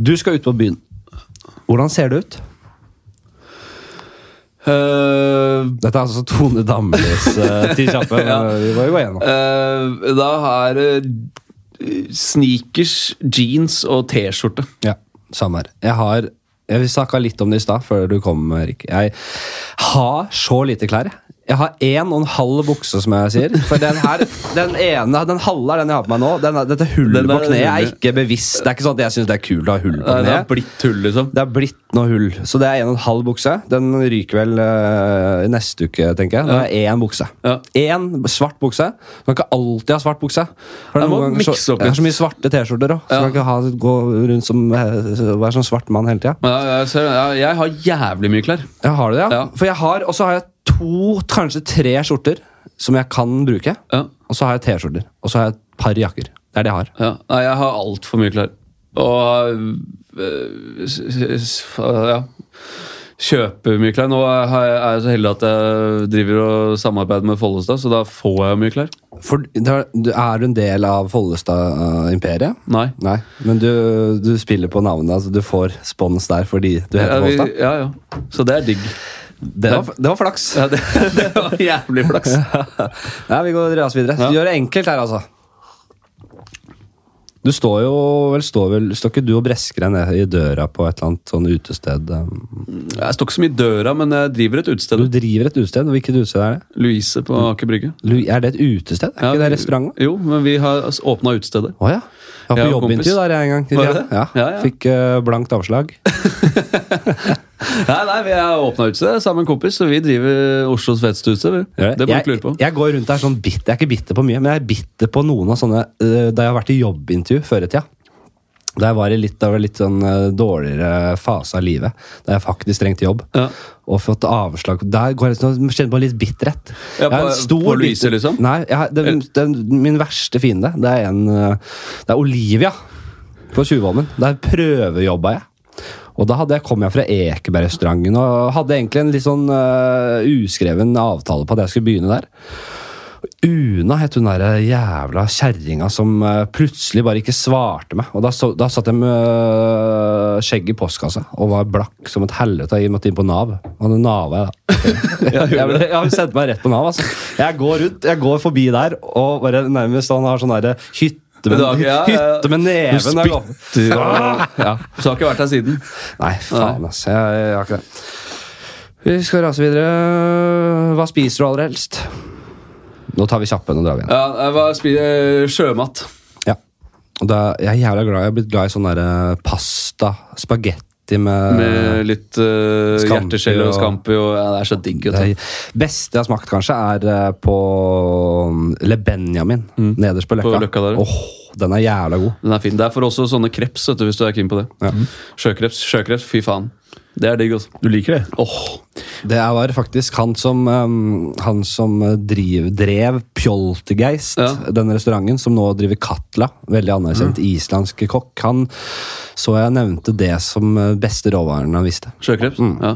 A: Du skal ut på byen. Hvordan ser det ut?
C: Eh,
A: Dette er altså Tone Damlis uh, til kjappe.
C: Ja.
A: Vi var jo igjennom.
C: eh, da er det sneakers, jeans og T-skjorte.
A: Ja, samme her. Jeg har jeg Vi snakka litt om det i stad, før du kom, Erik. Jeg har så lite klær. jeg. Jeg har én og en halv bukse, som jeg sier. For den her, den ene, den halve er den jeg har på meg nå. Den, er- dette hullet
C: Den
A: på
C: er-
A: kneet er ikke bevisst. Det er ikke sånn at jeg syns det er kult å ha hull på
C: Det har
A: kneet.
C: blitt hull, liksom.
A: Det er blitt noe hull. Så det er en og en halv bukse. Den ryker vel eh, i neste uke, tenker jeg. Da er det én bukse.
C: Ja.
A: Én svart bukse. Du kan ikke alltid ha svart bukse. For
C: Jeg må
A: noen ganger så,
C: mikse opp
A: jeg har
C: litt.
A: så mye svarte T-skjorter òg, så
C: Ja.
A: du kan ikke ha, gå rundt som eh, være sånn svart mann hele tida.
C: Men jeg, jeg, ser, jeg, jeg har jævlig mye klær.
A: Jeg har det, ja.
C: Ja.
A: For jeg har, og så har jeg to, kanskje tre skjorter som jeg kan bruke.
C: Ja,
A: Og så har jeg T-skjorter. Og så har jeg et par jakker. Det er det jeg har.
C: ja. Nei, jeg har altfor mye klær. Og eh, s- s- f- ja. Kjøper mye klær. Nå har jeg- er jeg så heldig at jeg driver og samarbeider med Follestad, så da får jeg mye klær.
A: For, da- du- er du en del av Follestad-imperiet?
C: Nei.
A: Nei, men du, du spiller på navnet, altså du får spons der fordi du heter
C: Ja, vi,
A: Follestad.
C: ja, ja. Så det er digg.
A: Det, var- det var flaks.
C: Ja, det, det var jævlig flaks.
A: Nei, vi går ras videre.
C: Ja.
A: Du gjør det enkelt her, altså. Du står jo vel, står vel Står ikke du og bresker deg ned i døra på et eller annet sånn utested? um,
C: Jeg står ikke så mye i døra, men jeg driver et utested.
A: Du driver et utested? og Hvilket utested er det?
C: Louise på Aker Brygge.
A: Lu- Er det et utested? Er ikke det restaurant?
C: Jo, men vi har åpna utestedet.
A: Å ja. Jeg var
C: Jeg
A: på
C: og
A: jobbintervju
C: kompis.
A: der jeg en gang.
C: Var det det?
A: Ja.
C: Ja, ja.
A: Fikk eh, blankt avslag.
C: Nei, nei, vi har åpna utestedet sammen med en kompis, så vi driver Oslos feteste utested. vi. Det må du ikke
A: jeg,
C: lure på.
A: jeg går rundt der sånn bitter. Jeg er ikke bitter på mye, men jeg er bitter på noen av sånne øh, da jeg har vært i jobbintervju før i tida. Da jeg var i litt, da jeg var i litt sånn øh, dårligere fase av livet, da jeg faktisk trengte jobb.
C: Ja.
A: Og fått avslag. Der går jeg sånn- kjenner på litt bitterhet. Jeg
C: Ja,
A: har en
C: på-
A: stor
C: på Louise,
A: bitter-
C: liksom?
A: Nei, jeg, har- den, den, min verste fiende, det er en øh, Det er Olivia på Tjuvholmen. Der prøvejobba jeg. Og da hadde jeg, kom jeg fra Ekebergrestauranten og hadde egentlig en litt sånn øh, uskreven avtale på at jeg skulle begynne der. Una het hun der eh, jævla kjerringa som eh, plutselig bare ikke svarte meg. Og da, så, da satt jeg med eh, skjegg i postkassa og var blakk som et helvete. Jeg måtte inn på Nav. Og det nava jeg, da. jeg, jeg, jeg sendte meg rett på Nav, altså. Jeg går rundt, jeg går forbi der, og bare nærmest han har sånn derre hytte med,
C: Du har ikke- ja, ja.
A: hytte med neven.
C: Du
A: når jeg går-
C: Ja, så har ikke vært her siden.
A: Nei, faen, ass. Jeg, jeg har ikke det. Vi skal rase videre. Hva spiser du aller helst? Nå tar vi kjappe, nå drar vi igjen.
C: Ja, jeg var spi- eh, Sjømat.
A: Ja. Og da, jeg er jævla glad Jeg har blitt glad i sånn der eh, pasta. Spagetti med,
C: Med litt uh,
A: Scampi
C: hjerteskjell og
A: og-
C: scampi og ja, Det er så digg.
A: Det
C: vet du.
A: beste jeg har smakt, kanskje, er eh, på Le Benjamin. Nederst på Løkka.
C: Mm. På Løkka der, ja.
A: Åh, den er jævla god.
C: Den er fin. Det er for også sånne kreps, vet du, hvis du er keen på det.
A: Ja.
C: Sjøkreps, sjøkreps, fy faen. Det er digg, altså.
B: Du liker det?
C: Åh,
A: Det er- var faktisk han som, eh, han som eh, driv, drev Pjoltergeist,
C: Ja. Mm.
A: den restauranten, som nå driver Katla. Veldig anerkjent islandsk kokk. Han så jeg nevnte det som eh, beste råvaren han visste.
C: sjøkreps. Ja.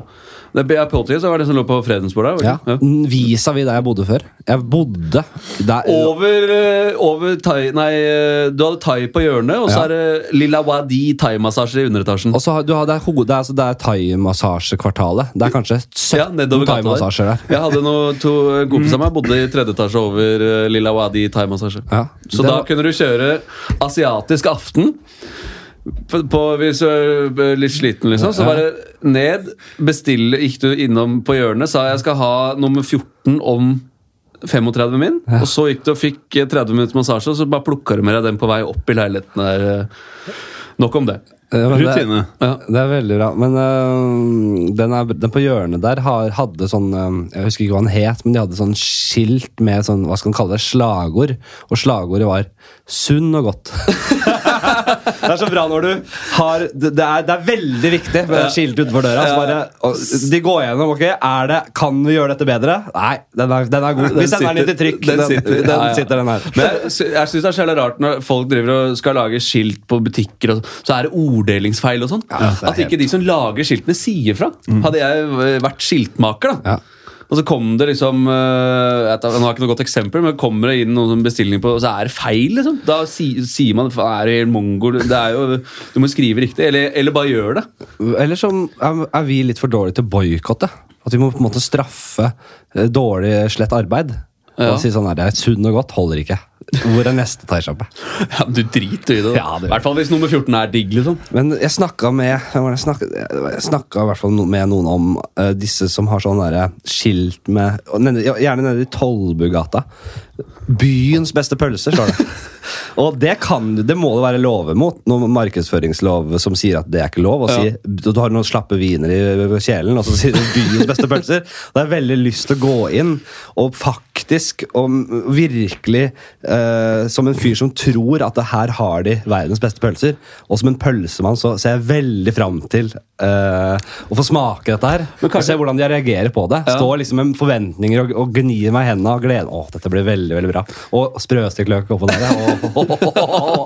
C: Det er Politi, så var det som lå på fredensbordet. her,
A: Ja.
C: var det ikke?
A: Vis-à-vis der jeg bodde før. Jeg bodde der
C: Ja. Over, eh, over thai Nei, eh, du hadde thai på hjørnet, og så
A: Ja.
C: er det Lilla Wadi thai-massasje i underetasjen.
A: Og så har du har det er hodet, altså det er thaimassasjekvartalet. Det er kanskje 17
C: Ja, nedover gata
A: thaimassasjer
C: der.
A: der.
C: Jeg hadde noe, to kompiser av meg bodde i tredje etasje over eh, Lilla Wadi thaimassasje.
A: Ja.
C: Så
A: Det
C: da
A: var-
C: kunne du kjøre asiatisk aften. På, på, hvis du er litt sliten, liksom. Så bare ned, bestille Gikk du innom på hjørnet, sa jeg skal ha nummer 14 om 35 min. Og så gikk du og fikk eh, 30 minutter massasje, og så bare plukka du med deg den på vei opp i leiligheten der. eh. Nok om det.
A: Ja, Eh, men
B: Rutine.
A: Det, det er veldig bra. Men øhm, den, er, den på hjørnet der har, hadde sånn øhm, Jeg husker ikke hva den het, men de hadde sånn skilt med sånn, hva skal man kalle det, slagord. Og slagordet var 'sunn og godt'. det er så bra når du har Det, det er, det er veldig viktig med det skiltet utenfor døra. Så bare, og, de går gjennom. ok, er det, Kan vi gjøre dette bedre? Nei, den er, den er god. Vi sender den litt i trykk.
C: Den sitter,
A: den,
C: Ja, ja.
A: sitter den her.
C: Men jeg, sy- jeg syns det er så jævla rart når folk driver og skal lage skilt på butikker, og så, så er det orddelingsfeil og sånn.
A: Ja, det er
C: At ikke de som lager skiltene, sier fra. Hadde jeg eh, vært skiltmaker, da.
A: Ja.
C: Og så kom det liksom eh, jeg vet ikke, Nå har jeg ikke noe godt eksempel, men kommer det inn noen sånn bestilling på, og så er det feil, liksom. Da si, sier man "Faen, er det helt mongo? Det er jo, du må skrive riktig. Eller, eller bare gjør det.
A: Eller så er, er vi litt for dårlige til å boikotte. At vi må på en måte straffe eh, dårlig, slett arbeid.
C: Ja.
A: Og si sånn her, det er sunn og godt holder ikke. Hvor er neste thaisjappe?
C: Ja, du driter jo i det.
A: Ja, det
C: I
A: gjør
C: hvert fall hvis nummer 14 er digg, liksom.
A: Men jeg snakka med hva var det jeg snakket- Jeg snakka i hvert fall no- med noen om eh, disse som har sånn derre skilt med og nede, ja, Gjerne nede i Tollbugata. Byens beste pølser, står det. og det kan du, det må det være love mot. Noen markedsføringslov som sier at det er ikke lov. Og
C: Ja.
A: sier, du, du har noen slappe viner i kjelen, og så sier du byens beste pølser. Og det er veldig lyst til å gå inn og faktisk, og m- virkelig eh, Som en fyr som tror at det her har de verdens beste pølser, og som en pølsemann så ser jeg veldig fram til eh, å få smake dette her.
C: Men kanskje-
A: og se hvordan de reagerer på det.
C: Ja.
A: Stå liksom med forventninger og, og gni meg i hendene og glede Å, dette blir veldig veldig bra. Og sprøstekt løk oppå der. ja. Å,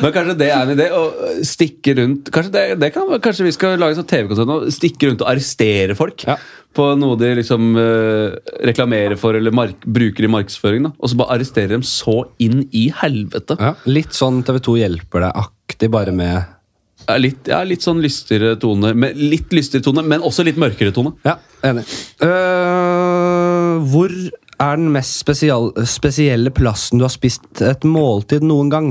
C: Men kanskje det er en idé å stikke rundt Kanskje, det, det kan, kanskje vi skal lage sånn TV-konsert nå? Stikke rundt og arrestere folk
A: Ja.
C: på noe de liksom eh, reklamerer for eller mark, bruker i markedsføring. da Og så bare arrestere dem så inn i helvete.
A: Ja. Litt sånn TV2 hjelper deg-aktig, bare med
C: Ja, litt, ja, litt sånn lystigere tone, men, litt lystigere tone, men også litt mørkere tone.
A: Ja, enig. Øh, hvor er den mest spesial, spesielle plassen du har spist et måltid noen gang?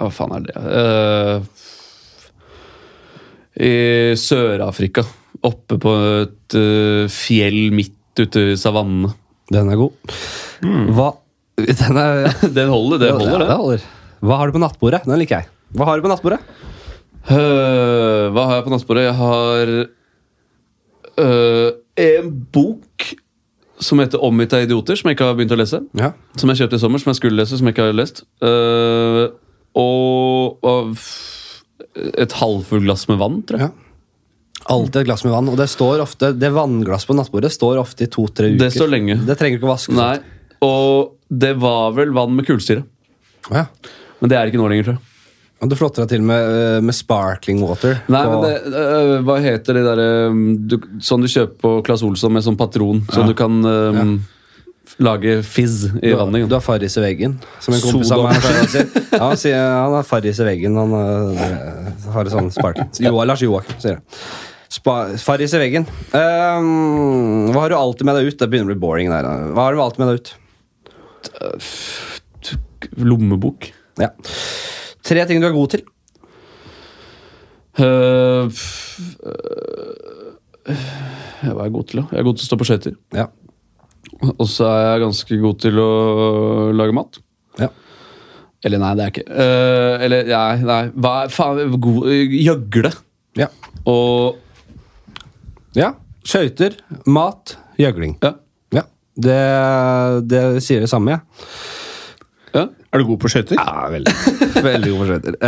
C: Hva faen er det? Eh, I Sør-Afrika. Oppe på et eh, fjell midt ute i savannene.
A: Den er god. Hva Den er
C: Den holder, det holder,
A: Ja,
C: det.
A: Hmm. holder. Hva har du på nattbordet? Den liker jeg. Hva har du på nattbordet?
C: Eh, hva har jeg på nattbordet? Jeg har eh, en bok som heter 'Omgitt av idioter', som jeg ikke har begynt å lese.
A: Ja.
C: Som jeg kjøpte i sommer, som jeg skulle lese, som jeg ikke har lest. Eh, og, og f- et halvfullt glass med vann, tror jeg.
A: Alltid et glass med vann. Og det står ofte, det vannglasset på nattbordet står ofte i to-tre uker.
C: Det står lenge.
A: Det trenger du ikke å vaske.
C: Nei, Og det var vel vann med kullsyre.
A: Å Ja.
C: Men det er det ikke nå lenger, tror jeg.
A: Og du flotter deg til med, øh, med sparkling water.
C: Nei,
A: på-
C: men det, øh, Hva heter de derre Sånn du kjøper på Claes Olsson med sånn patron, sånn du kan øhm, f- lage fizz
A: Du
C: i
A: har-
C: vannet?
A: Du har farris i veggen, som en kompis av
C: Soda.
A: meg pleier å si. Ja, han sier han har farris i veggen. Han øh, har et sånt spark. Jo, Lars Joakim, sier det. Spa- Farris i veggen. Ehm, hva har du alltid med deg ut? Det begynner å bli boring. der. da. Hva har du alltid med deg ut?
C: Lommebok.
A: Ja. Tre ting du er god til.
C: Øh, f- øh, hva er jeg god til, da? Jeg er god til å stå på skøyter.
A: Ja.
C: Og så er jeg ganske god til å lage mat.
A: ja.
C: Eller nei, det er jeg ikke. Øh, eller nei, nei. Hva er faen god, Gjøgle.
A: ja.
C: Og
A: ja. Skøyter, mat, gjøgling.
C: Ja.
A: Ja. Det, det sier det samme, jeg.
C: ja.
B: Er du god på skøyter?
A: Ja, veldig. veldig god på skøyter. Eh,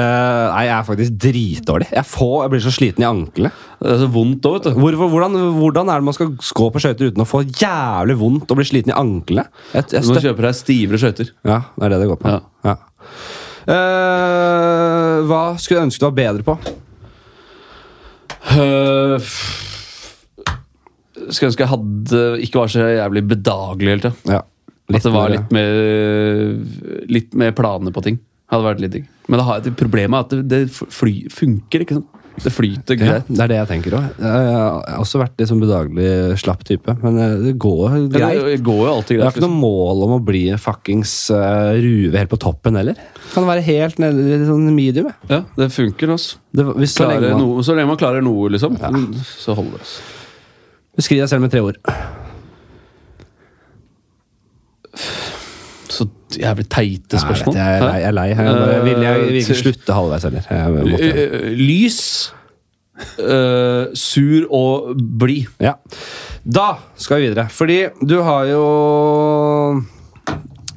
A: nei, jeg er faktisk dritdårlig. Jeg, får, jeg blir så sliten i anklene.
C: Det er så vondt òg, vet du.
A: Hvor, hvor- hvordan, hvordan er det man skal gå på skøyter uten å få jævlig vondt og bli sliten i anklene? Jeg- jeg
C: Du må
A: støt-
C: kjøpe deg stivere skøyter.
A: Ja, det er det det går på.
C: Ja.
A: Ja. Eh, hva skulle jeg ønske du var bedre på?
C: Øh, f- Skulle ønske jeg hadde ikke var så jævlig bedagelig hele tida.
A: Ja.
C: At det var
A: mer-
C: litt mer, litt mer planer på ting. Hadde vært litt digg. Men det har, det problemet er at det, det fly, funker, ikke sant? Det
A: ja,
C: flyter greit.
A: det er det jeg tenker òg. Jeg har også vært litt sånn bedagelig slapp type. Men eh, det går
C: Men
A: greit.
C: Det går jo alltid
A: Jeg har
C: greit.
A: ikke
C: liksom.
A: noe mål om å bli en fuckings eh, ruve helt på toppen heller. Kan være helt nede i sånn medium. jeg.
C: liksom. Ja, det funker, altså.
A: Det, var- hvis så lenge
C: Klarer
A: man
C: noe, så lenge man klarer noe, liksom, så holder det. Altså.
A: Beskriv deg selv med tre ord.
C: Så jævlig teite spørsmål.
A: Jeg, vet, jeg, jeg er lei. Jeg, bare,
C: Eh,
A: ville jeg, vil ikke
C: til-
A: slutte halvveis heller. Jeg
C: Hæ?
A: måtte-
C: Eh, Lys, eh, sur og blid.
A: Ja. Da skal vi videre. Fordi du har jo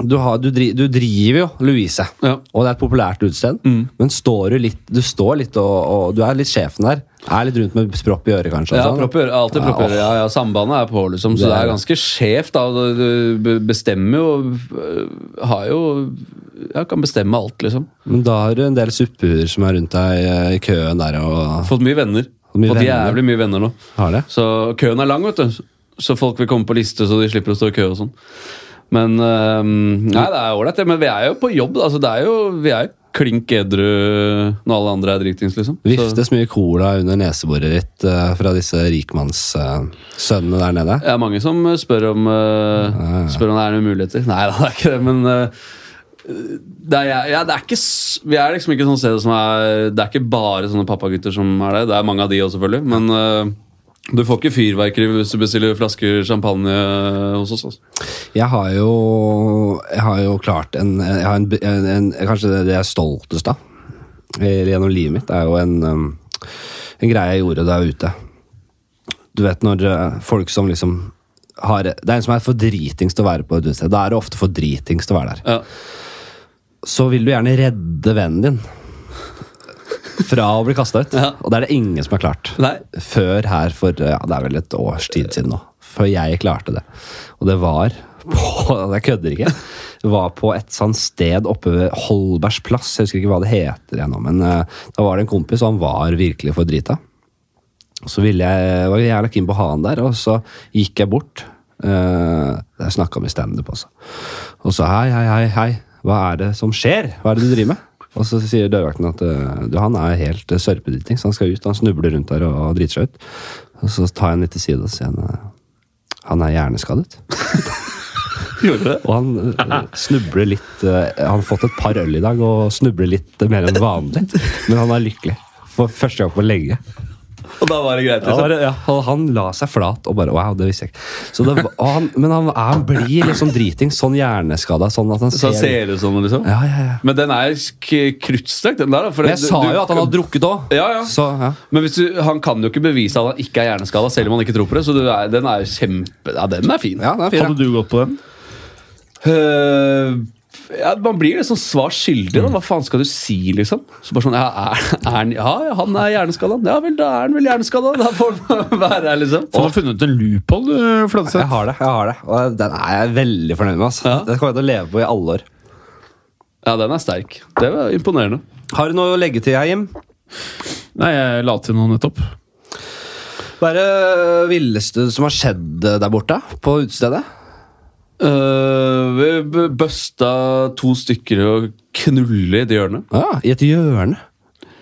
A: du, har, du, dri, du driver jo Louise,
C: Ja.
A: og det er et populært utested. Men står du litt Du står litt og, og Du er litt sjefen der. Er litt rundt med propp i øret, kanskje. og
C: Ja,
A: sånn.
C: propp i øret. Alltid propp i øret. Ja, ja, sambandet er på, liksom. Så
A: Det
C: det
A: er
C: er
A: det.
C: ganske skjevt, da. Du- Du be- bestemmer jo øh, Har jo Ja, kan bestemme alt, liksom.
A: Men da har du en del suppehuer som er rundt deg eh, i køen der og
C: Fått mye venner.
A: mye
C: Fått
A: venner.
C: jævlig mye venner nå.
A: har det.
C: Så køen er lang, vet du. Så folk vil komme på liste, så de slipper å stå i kø og sånn. Men øhm, Nei, det er ålreit, det. Men vi er jo på jobb. Altså, det er jo, vi er jo klink edru når alle andre er dritings, liksom. Så-
A: Viftes mye cola under neseboret ditt eh, fra disse rikmannssønnene der nede.
C: Det er mange som spør om,
A: Ah.
C: eh, spør om det er noen muligheter. Nei da, det er ikke det, men eh, det er, ja, det er ikke, s- Vi er liksom ikke sånn sted som er Det er ikke bare sånne pappagutter som er det. Det er mange av de òg, selvfølgelig. Men eh, du får ikke fyrverkeri hvis du bestiller flasker champagne hos oss. Altså.
A: Jeg har jo, jeg har jo klart en, jeg har en, en, en Kanskje det, det jeg er stoltest av eller gjennom livet mitt, er jo en, um, en greie jeg gjorde da jeg var ute. Du vet når eh, folk som liksom har Det er en som er for dritings til å være på et utested. Da er det ofte for dritings til å være der.
C: Ja.
A: Så vil du gjerne redde vennen din fra å bli kasta ut.
C: Ja.
A: Og det er det ingen som har klart.
C: Nei.
A: Før her for ja, det er vel et års tid siden nå. Før jeg klarte det. Og det var på Jeg kødder ikke. Det var på et sånt sted oppe ved Holbergs plass. Jeg husker ikke hva det heter ennå, men eh, da var det en kompis, og han var virkelig for drita. Og så ville jeg, var jeg jævla keen på å ha han der, og så gikk jeg bort. Uh, jeg snakka med standup også. Og så hei, hei, hei, hei. Hva er det som skjer? Hva er det du driver med? Og så sier dørvakten at eh, du, han er helt eh, sørpedriting, så han skal ut. Han snubler rundt der og, og driter seg ut. Og så tar jeg han litt til side og sier han, eh, han er hjerneskadet.
C: Gjorde det?
A: Og han eh, snubler litt eh, Han har fått et par øl i dag og snubler litt eh, mer enn vanlig. Men han er lykkelig. For første gang på lenge.
C: Og da var det
A: Ja,
C: greit, liksom?
A: bare, ja. Og han la seg flat og bare Wow, det visste jeg ikke. Så det, var- og han, men han, han blir liksom driting, sånn hjerneskada. Sånn at han ser,
C: Så han ser ut sånn, liksom?
A: Ja, ja, ja.
C: Men den er k- kruttstøkk, den der. da, for
A: Men jeg
C: det-
A: sa
C: du-
A: jo at han hadde drukket òg.
C: Ja, ja.
A: Så, ja.
C: Men hvis du, han kan jo ikke bevise at han ikke er hjerneskada, selv om han ikke tror på det. Så du er, den er jo kjempe... Ja, den er fin.
A: ja, det er fint.
B: Hadde du gått på den?
C: Eh, ja, man blir liksom svar skyldig.
B: Mm.
C: Da. Hva faen skal du si, liksom? Så bare sånn, ja, er, er, han- ja han er hjerneskada. Ja vel, da er han vel hjerneskada. Da får han være her, liksom.
B: Så han har funnet en loophole, du,
A: Jeg
B: Fladseth.
A: har det. jeg har det Og den er jeg veldig fornøyd med. Altså.
C: Ja.
A: Den kommer jeg til å leve på i alle år.
C: Ja, den er sterk. Det var imponerende.
A: Har du noe å legge til, jeg, Jim?
B: Nei, jeg la til noe nettopp.
A: Hva er det villeste som har skjedd eh, der borte? På utestedet?
C: Eh, vi b- busta to stykker og knulle i det hjørnet.
A: Ja, I et hjørne.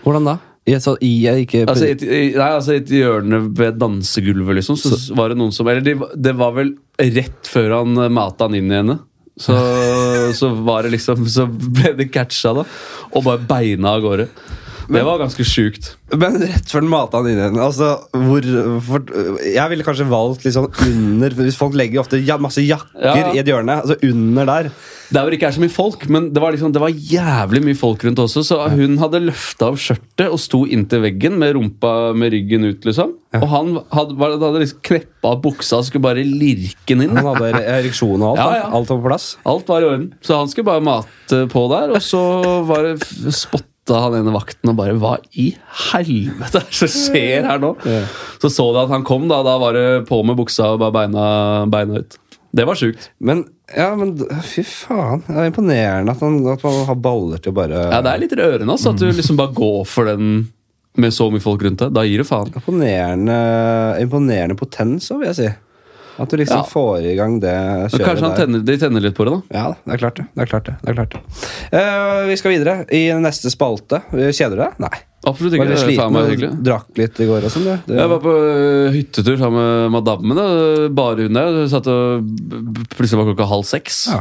A: Hvordan da? I et sånt i, ikke,
C: Altså, i et, i, nei, altså i et hjørne ved dansegulvet, liksom, så, s- var det noen som Eller de, det var vel rett før han eh, mata han inn i henne. Så, så var det liksom Så ble det catcha, da. Og bare beina av gårde. Det var ganske sjukt.
A: Men rett før den mata han inn igjen altså, hvor, for, Jeg ville kanskje valgt litt sånn under Hvis folk legger ofte ja, masse jakker
C: Ja, ja.
A: i et hjørne Altså under der
C: Det er hvor det ikke er så mye folk, men det var, liksom, det var jævlig mye folk rundt også. Så hun hadde løfta av skjørtet og sto inntil veggen med rumpa med ryggen ut. liksom Og han hadde, var- hadde liksom kneppa av buksa og skulle bare lirke den inn.
A: Han hadde ereksjon og alt
C: Ja,
A: da.
C: ja.
A: Alt var på plass
C: Alt var i orden. Så han skulle bare mate på der, og så var det f- spotta han ene vakten og bare Hva i helvete er det som skjer her nå? Så så de at han kom, da. Da var det på med buksa og bare beina, beina ut. Det var sjukt.
A: Men, ja, men d- fy faen Det er imponerende at, han, at man har baller til å bare
C: Ja, Det er litt rørende altså,
A: Mm.
C: at du liksom bare går for den med så mye folk rundt deg. Da gir du faen.
A: imponerende, imponerende potens, så vil jeg si At du liksom
C: Ja.
A: får i gang det
C: Men
A: kjøret
C: Kanskje han
A: der.
C: tenner, de tenner litt på det, da.
A: Ja da, det er klart det, det er klart det, det er klart det. Eh, Vi skal videre i neste spalte Kjeder du deg? Nei
C: Absolutt ikke.
A: Var litt
C: Det er faen
A: sliten altså.
C: meg
A: og
C: hyggelig.
A: drakk litt i går og sånn, du?
C: Jeg var på ø, hyttetur sammen med madammen. da. Bare hun der. Satt og plutselig var klokka halv seks.
A: Ja.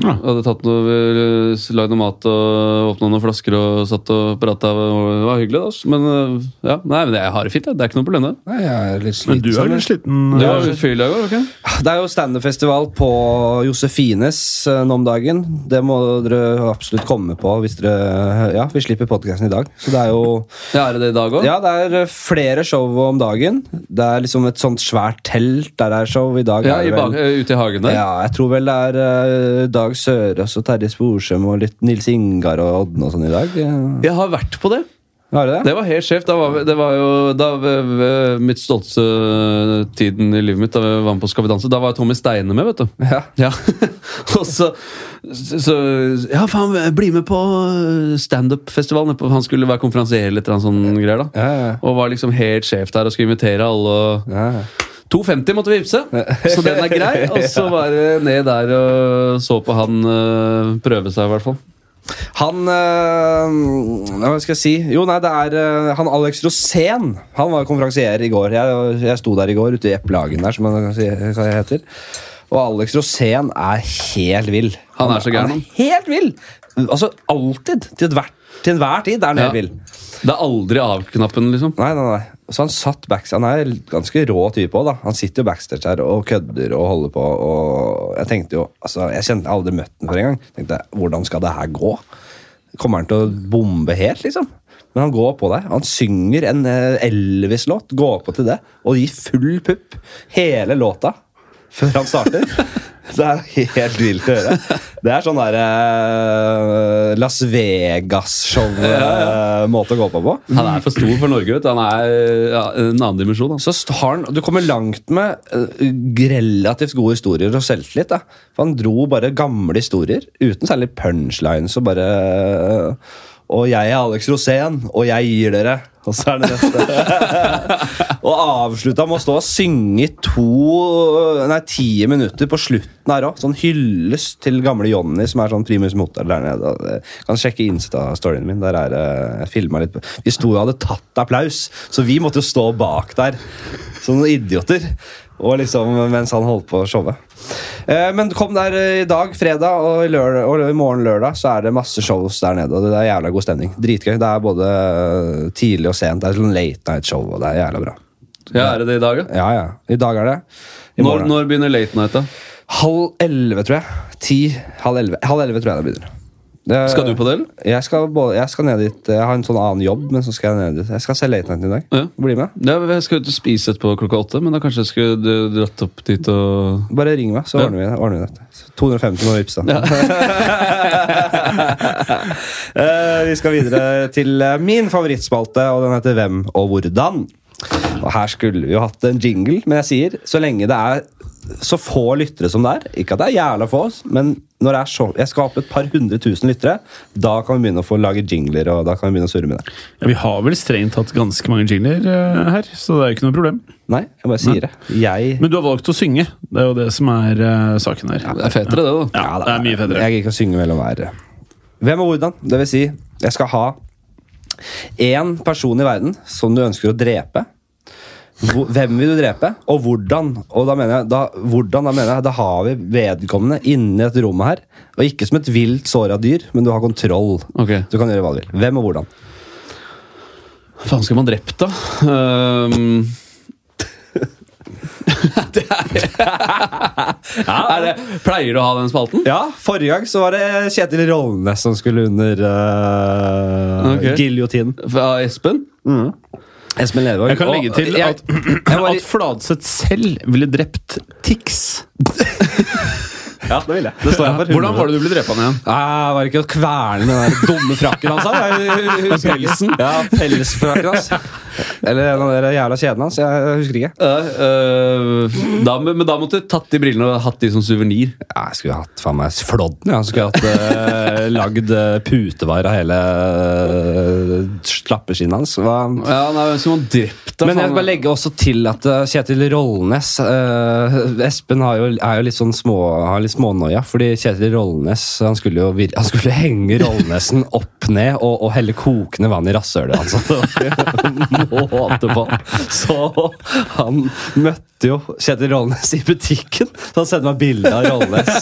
B: Ja.
C: Jeg hadde tatt noe, ø, lagd noe mat og åpna noen flasker og satt og prata. Det var hyggelig, da. ass. Men ø, ja, nei, men jeg har det fint. jeg. Det er ikke noe problem, det.
A: Nei, jeg er litt sliten.
B: Men du er litt sliten. eh?
C: Det
B: Ja.
C: var fyr i dag òg, ikke
A: Det er jo standup-festival på Josefines eh, nå om dagen. Det må dere absolutt komme på hvis dere Ja, vi slipper podkasten i dag. Så det er jo
C: Ja, er det det i dag òg?
A: Ja, det er eh, flere show om dagen. Det er liksom et sånt svært telt der det er show. I dag
C: Ja,
A: er
C: i
A: det
C: bak,
A: vel
C: ø, ute i hagen der?
A: ja, jeg tror vel det er eh, Dag Sørås og Terje Sporsem og litt Nils Ingar og Odne og sånn i dag. Eh,
C: Jeg har vært på det.
A: Har du det?
C: Det var helt sjef. Da var, vi- det var jo da, v- v- mitt stolteste tiden i livet mitt da vi var med på Skal vi danse. Da var Tommy Steine med, vet du.
A: Ja.
C: og så, så Ja, faen, bli med på eh, standup-festivalen. Han skulle være konferansier eller et eller annet sånn greier. da
A: Ja, ja.
C: Og var liksom helt sjef der og skulle invitere alle. og...
A: Ja.
C: 2,50 måtte vi vippse, så den er grei. Og så var det ned der og så på han øh, eh, prøve seg, i hvert fall.
A: Han eh, Hva skal jeg si? Jo, nei, det er eh, han Alex Rosén. Han var konferansier i går. Jeg, jeg sto der i går ute i Eplehagen der, som han kan si hva det heter. Og Alex Rosén er helt vill.
C: Han er så gæren, han.
A: Helt vill! Altså alltid. Til enhver, til enhver tid er han helt
C: Ja.
A: vill.
C: Det er aldri av-knappen, liksom.
A: Nei, nei, nei. Så han satt backstage. Han er en ganske rå type òg, da. Han sitter jo backstage her og kødder og holder på og Jeg tenkte jo Altså, jeg kjente jeg har aldri møtt han før engang. Tenkte jeg, hvordan skal det her gå? Kommer han til å bombe helt, liksom? Men han går på der. Han synger en eh, Elvis-låt, går på til det, og gir full pupp hele låta før han starter. Det er helt vilt å høre. Det er sånn der eh, Las Vegas-show-måte å gå på på.
C: Han er for stor for Norge. Vet du. Han er ja, en annen dimensjon. Altså.
A: så st- har han, Du kommer langt med eh, relativt gode historier og selvtillit. da. For Han dro bare gamle historier, uten særlig punchlines. Og bare eh, Og jeg er Alex Rosén, og jeg gir dere. Og så er det neste. og avslutta med å stå og synge i to øh, Nei, ti minutter på slutten her òg. Sånn hyllest til gamle Johnny, som er sånn primus motor der nede. Og, eh, Kan sjekke Insta-storyen min. Der er det Jeg filma litt. Vi sto og hadde tatt applaus, så vi måtte jo stå bak der som noen idioter. Og liksom mens han holdt på å showe. Eh, men kom der eh, i dag, fredag, og i, lørdag, og i morgen lørdag så er det masse shows der nede. Og det er jævla god stemning. Dritgøy. Det er både eh, tidlig og sent. Det er sånn late night-show, og det er jævla bra.
C: Ja, er det det i dag, ja?
A: Ja, ja. I dag er det. I
C: Når,
A: morgen.
C: når begynner late night, da?
A: Halv elleve, tror jeg. Ti. Halv elleve. Halv elleve tror jeg det begynner. Det-
C: Skal du på det, eller?
A: Jeg skal, både, jeg skal ned dit. Jeg har en sånn annen jobb, men så skal jeg ned dit. Jeg skal se Late Night i dag.
C: Ja.
A: Bli med.
C: Ja, jeg skal ut og spise etterpå klokka åtte, men da kanskje jeg skulle d- dratt opp dit og
A: Bare ring meg, så ordner, vi, ordner vi dette. 250 må vippse, da. Eh, vi skal videre til eh, min favorittspalte, og den heter Hvem og hvordan. Og Her skulle vi jo hatt en jingle, men jeg sier så lenge det er så få lyttere som det er Ikke at det er jævla få, men når det er så, jeg skal ha opp et par hundre tusen lyttere, da kan vi begynne å få lage jingler. og da kan vi begynne å surre med det.
B: Ja, vi har vel strengt tatt ganske mange jingler eh, her, så det er jo ikke noe problem.
A: Nei, jeg bare sier det. Jeg
B: Men du har valgt å synge. Det er jo det som er eh, saken her.
C: Det er fetere, det, da.
B: Ja,
A: Ja, da,
B: det er mye fetere.
A: Jeg gidder ikke å synge mellom hver. Hvem og hvordan? Det vil si, jeg skal ha én person i verden som du ønsker å drepe. Hvor- Hvem vil du drepe, og hvordan? Og da mener jeg, da, hvordan, da mener jeg, da har vi vedkommende inni dette rommet her. Og ikke som et vilt såra dyr, men du har kontroll.
C: Ok.
A: Du kan gjøre hva du vil. Hvem og hvordan?
C: Hva faen skal man drept, da? Ehm, det er, er det, Pleier du å ha den spalten?
A: Ja, forrige gang så var det Kjetil Rollnes som skulle under uh,
C: Ok.
A: giljotinen.
C: Fra Espen?
A: Espen Lervåg.
B: Jeg kan
A: Og-
B: legge til
A: jeg-
B: at,
A: jeg var i-
B: at Fladseth selv ville drept Tix.
A: Ja, det vil jeg. Det står jeg for.
B: Hvordan var det du ble drept han igjen?
A: Ah, var det ikke å kverne med den der dumme frakken hans? da? Pelsen? Ja, pelsfrakken hans. Eller den der jævla kjeden hans. Jeg husker ikke.
C: Ja, eh, da, men men da måtte du tatt de brillene og hatt de som suvenir.
A: Ja, jeg skulle hatt faen meg flådden. Jeg skulle hatt eh, lagd eh, putevar av hele eh, slappeskinnet hans. Hva?
C: Ja, nei, hvem skulle man drept, da?
A: Men jeg
C: faen?
A: vil bare legge også til at eh, Kjetil Rollnes eh, Espen har jo, er jo litt sånn små, har litt smånoia, fordi Kjetil Rollnes han skulle jo vir- han skulle henge Rollnesen opp ned og, og helle kokende vann i rasshølet hans. Altså. Måte på. Så han møtte jo Kjetil Rollnes i butikken, så han sendte meg bilde av Rollnes.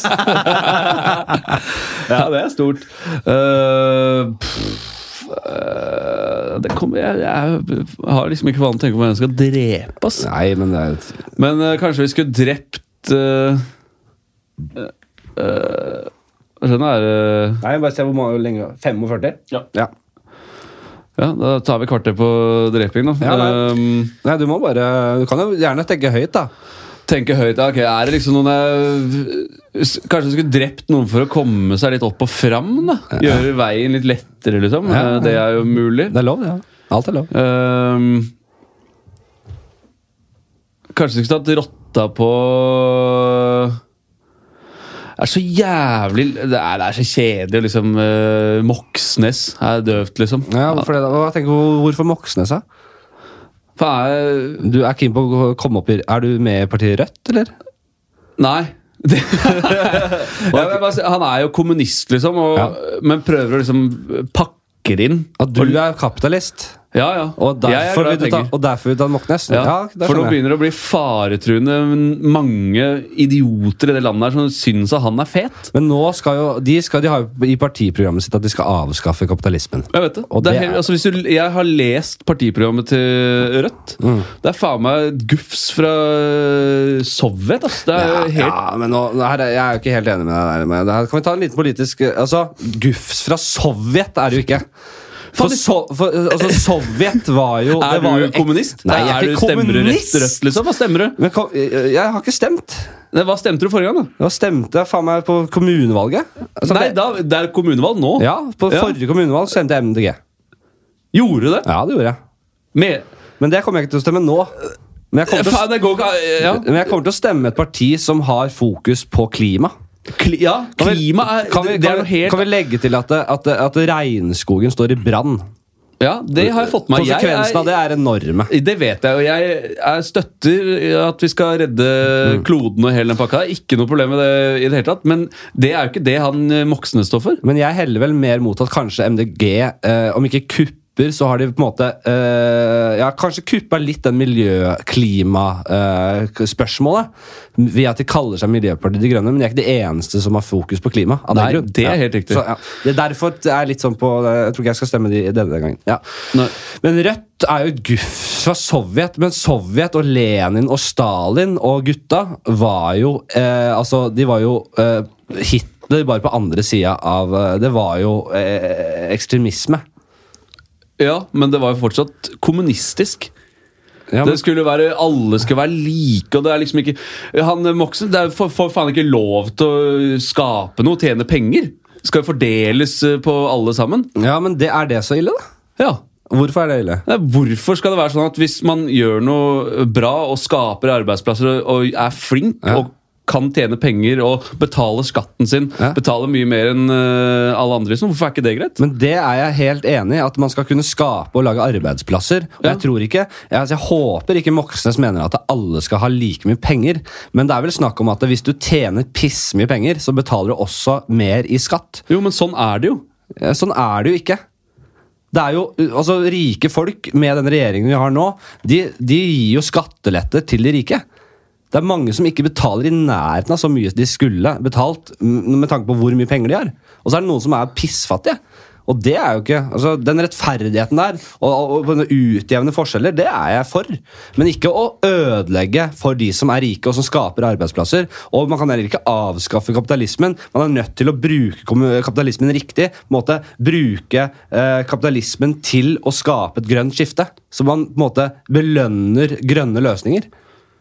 C: Ja, det er stort. Eh, pff, eh, det kommer, jeg, jeg har liksom ikke vanen å tenke på hvem jeg skal drepe. Ass.
A: Nei, men det er jo
C: Men eh, kanskje vi skulle drept eh, eh, Hva Eh, skjønner jeg?
A: Nei, bare se hvor lenge 45? Ja.
C: ja, da tar vi kvarter på dreping, da.
A: Ja, nei.
C: Ehm,
A: Nei, du må bare Du kan jo gjerne tenke høyt, da.
C: tenke høyt ja, ok, Er det liksom noen jeg, s- Kanskje jeg skulle drept noen for å komme seg litt opp og fram? da Gjøre veien litt lettere, liksom.
A: Ja.
C: Eh, Det er jo mulig.
A: Det er lov, ja. Alt er lov.
C: Ehm, kanskje du skulle tatt rotta på Det er så jævlig Det er, det er så kjedelig, liksom. eh, Moxnes er døvt, liksom.
A: Ja, hvorfor det da? Hva tenker du- Hvorfor Moxnes, da?
C: Faen, jeg-
A: Du er keen på å komme opp i Er du med i partiet Rødt, eller?
C: Nei. Ja, men jeg bare sier, han er jo kommunist, liksom, og, men prøver å liksom pakke det inn.
A: At du er kapitalist,
C: Ja, ja.
A: og
C: Jeg er
A: derfor,
C: glad i
A: vil du ta,
C: penger.
A: og derfor vil du ta Mocknes.
C: Ja,
A: det
C: for nå
A: skjønner jeg.
C: begynner det å bli faretruende mange idioter i det landet her som syns at han er fet.
A: Men nå skal jo de, skal, de har jo i partiprogrammet sitt at de skal avskaffe kapitalismen.
C: Jeg vet det.
A: Og
C: det
A: det
C: er helt,
A: er-
C: altså hvis du, jeg har lest partiprogrammet til Rødt.
A: Mm.
C: Det er faen meg et gufs fra øh, Sovjet, ass. Det er jo helt
A: ja, men nå, nå her, er- Jeg er jo ikke helt enig med deg. der, Men det her, kan vi ta en liten politisk eh, Altså, Gufs fra Sovjet er det jo ikke. For, so, for altså, Sovjet var jo det
C: Er
A: var
C: du
A: jo ek-
C: kommunist?
A: Nei, jeg
C: er
A: er
C: du
A: ikke
C: stemmer du rett
A: kommunist!
C: rødt, liksom? Hva stemmer du?
A: Men kom, jeg, jeg har ikke stemt.
C: Nei, Hva stemte du forrige gang, da?
A: Da stemte jeg faen meg på kommunevalget. Altså,
C: Nei,
A: ble-
C: da, det er kommunevalg nå.
A: Ja, På
C: Ja.
A: forrige kommunevalg stemte jeg MDG.
C: Gjorde du det?
A: Ja, det gjorde jeg.
C: Med,
A: Men det kommer jeg ikke til å stemme nå. Men jeg kommer til å,
C: faen, det går ikke Ja,
A: men jeg kommer til å stemme et parti som har fokus på klima.
C: kli, ja klima er,
A: Kan vi,
C: det er
A: kan,
C: noe
A: vi,
C: helt
A: kan vi legge til at, det, at, det, at regnskogen står i brann?
C: Ja, det har jeg fått med meg. Jeg er-
A: Konsekvensene av det er enorme.
C: Det vet jeg, og jeg, jeg støtter at vi skal redde
A: Mm.
C: kloden og hele den pakka. Ikke noe problem med det i det hele tatt, men det er jo ikke det han eh, Moxnes står for.
A: Men jeg heller vel mer mot at kanskje MDG, eh, om ikke kupper, så har de på en måte eh, Ja, kanskje kuppa litt den miljø-klima-spørsmålet. ved at de kaller seg Miljøpartiet De Grønne, men de er ikke de eneste som har fokus på klima. av den
C: Nei,
A: grunn.
C: det er helt riktig.
A: Så, ja. Det er derfor det er litt sånn på Jeg tror ikke jeg skal stemme de denne gangen. Ja.
C: Nei.
A: Men Rødt er jo et gufs fra Sovjet, men Sovjet og Lenin og Stalin og gutta var jo eh, Altså, de var jo eh, Hitler bare på andre sida av eh, Det var jo eh, ekstremisme.
C: Ja, men det var jo fortsatt kommunistisk.
A: Ja,
C: Det skulle jo være, Alle skulle være like, og det er liksom ikke Han eh, Moxnes det er for, for faen ikke lov til å skape noe, tjene penger. Skal jo fordeles eh, på alle sammen.
A: ja men det, er det så ille, da?
C: Ja,
A: Hvorfor er det ille?
C: Nei, Hvorfor skal det være sånn at hvis man gjør noe bra og skaper arbeidsplasser og, og er flink
A: Ja.
C: og kan tjene penger og betaler skatten sin,
A: Ja.
C: betaler mye mer enn eh, alle andre, liksom, hvorfor er ikke det greit?
A: Men det er jeg helt enig i, at man skal kunne skape og lage arbeidsplasser. Og
C: Ja.
A: jeg tror ikke, jeg, altså, jeg håper ikke Moxnes mener at alle skal ha like mye penger, men det er vel snakk om at hvis du tjener pissmye penger, så betaler du også mer i skatt.
C: Jo, men sånn er det jo.
A: Eh, Sånn er det jo ikke. Det er jo, uh, altså Rike folk med den regjeringen vi har nå, de, de gir jo skattelette til de rike. Det er mange som ikke betaler i nærheten av så mye de skulle betalt m- med tanke på hvor mye penger de har. Og så er det noen som er pissfattige. Og det er jo ikke, altså Den rettferdigheten der og, og, og denne utjevne forskjeller, det er jeg for. Men ikke å ødelegge for de som er rike og som skaper arbeidsplasser. Og man kan heller ikke avskaffe kapitalismen. Man er nødt til å bruke kommu- kapitalismen riktig. på en måte Bruke eh, kapitalismen til å skape et grønt skifte. Så man på en måte belønner grønne løsninger.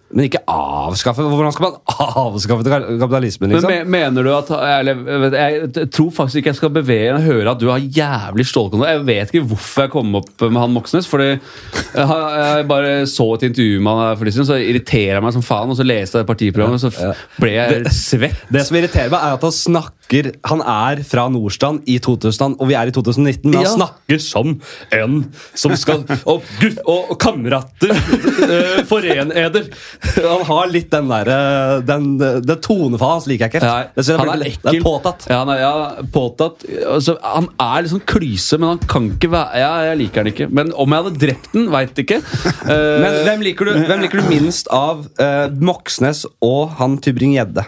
A: Men ikke avskaffe? Hvordan skal man avskaffe kapitalismen?
C: Men
A: liksom?
C: me mener du at eller, jeg, vet- jeg t- tror faktisk ikke jeg skal bevege meg. Jeg hører at du har jævlig stålkontroll. Jeg vet ikke hvorfor jeg kom opp med han Moxnes. Fordi jeg, har- jeg bare så et intervju med han her for litt siden, så irriterer jeg meg som faen. Og så leste jeg det partiprogrammet, og så f- ble jeg svett.
A: Det som irriterer meg, er at han snakker Han er fra Nordstrand i 2000, og vi er i 2019, men
C: Ja.
A: han snakker som en som skal Og, gutt, og, og kamerater! eh, foreneder! Han har litt den derre den, Det tonefallet hans liker jeg ikke
C: Nei,
A: helt. Det synes jeg
C: han er
A: blir-
C: ekkel.
A: det er påtatt.
C: Ja, han er, ja, påtatt. Altså, han er liksom klyse, men han kan ikke være ja, Jeg liker han ikke. Men om jeg hadde drept den, veit ikke. Eh,
A: Men hvem liker du, hvem liker du minst av eh, Moxnes og han Tybring-Gjedde?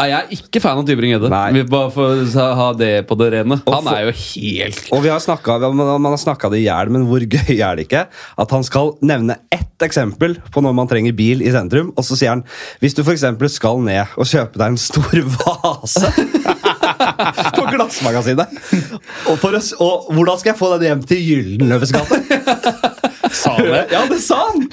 C: nei, jeg er ikke fan av Tybring-Gjedde.
A: Nei.
C: Vi bare får sa- ha det på det rene. Han
A: for-
C: er jo helt
A: Og vi har snakket, man, man har snakka det i hjel, men hvor gøy er det ikke? At han skal nevne ett eksempel på når man trenger bil i sentrum, og så sier han hvis du f.eks. skal ned og kjøpe deg en stor vase på Glassmagasinet, og, for å, s- og hvordan skal jeg få den hjem til Gyldenløves gate?
C: Sa han det?
A: Ja, det sa han!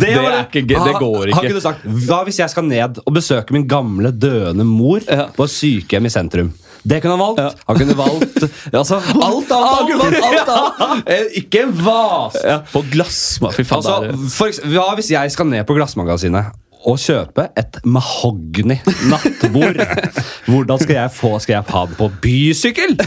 A: Det,
C: er
A: var-
C: ikke gøy, det
A: Han-
C: går ikke.
A: Han kunne sagt Hva hvis jeg skal ned og besøke min gamle døende mor
C: Ja.
A: på et sykehjem i sentrum? Det kunne han valgt. Han kunne valgt altså,
C: Alt annet! han kunne valgt alt annet. Eh, Ikke en vas! På glassma... Fy faen, det er-
A: Altså, for eks- hva hvis jeg skal ned på Glassmagasinet og kjøpe et mahogni nattbord? Hvordan skal jeg få Skal jeg ha den på bysykkel?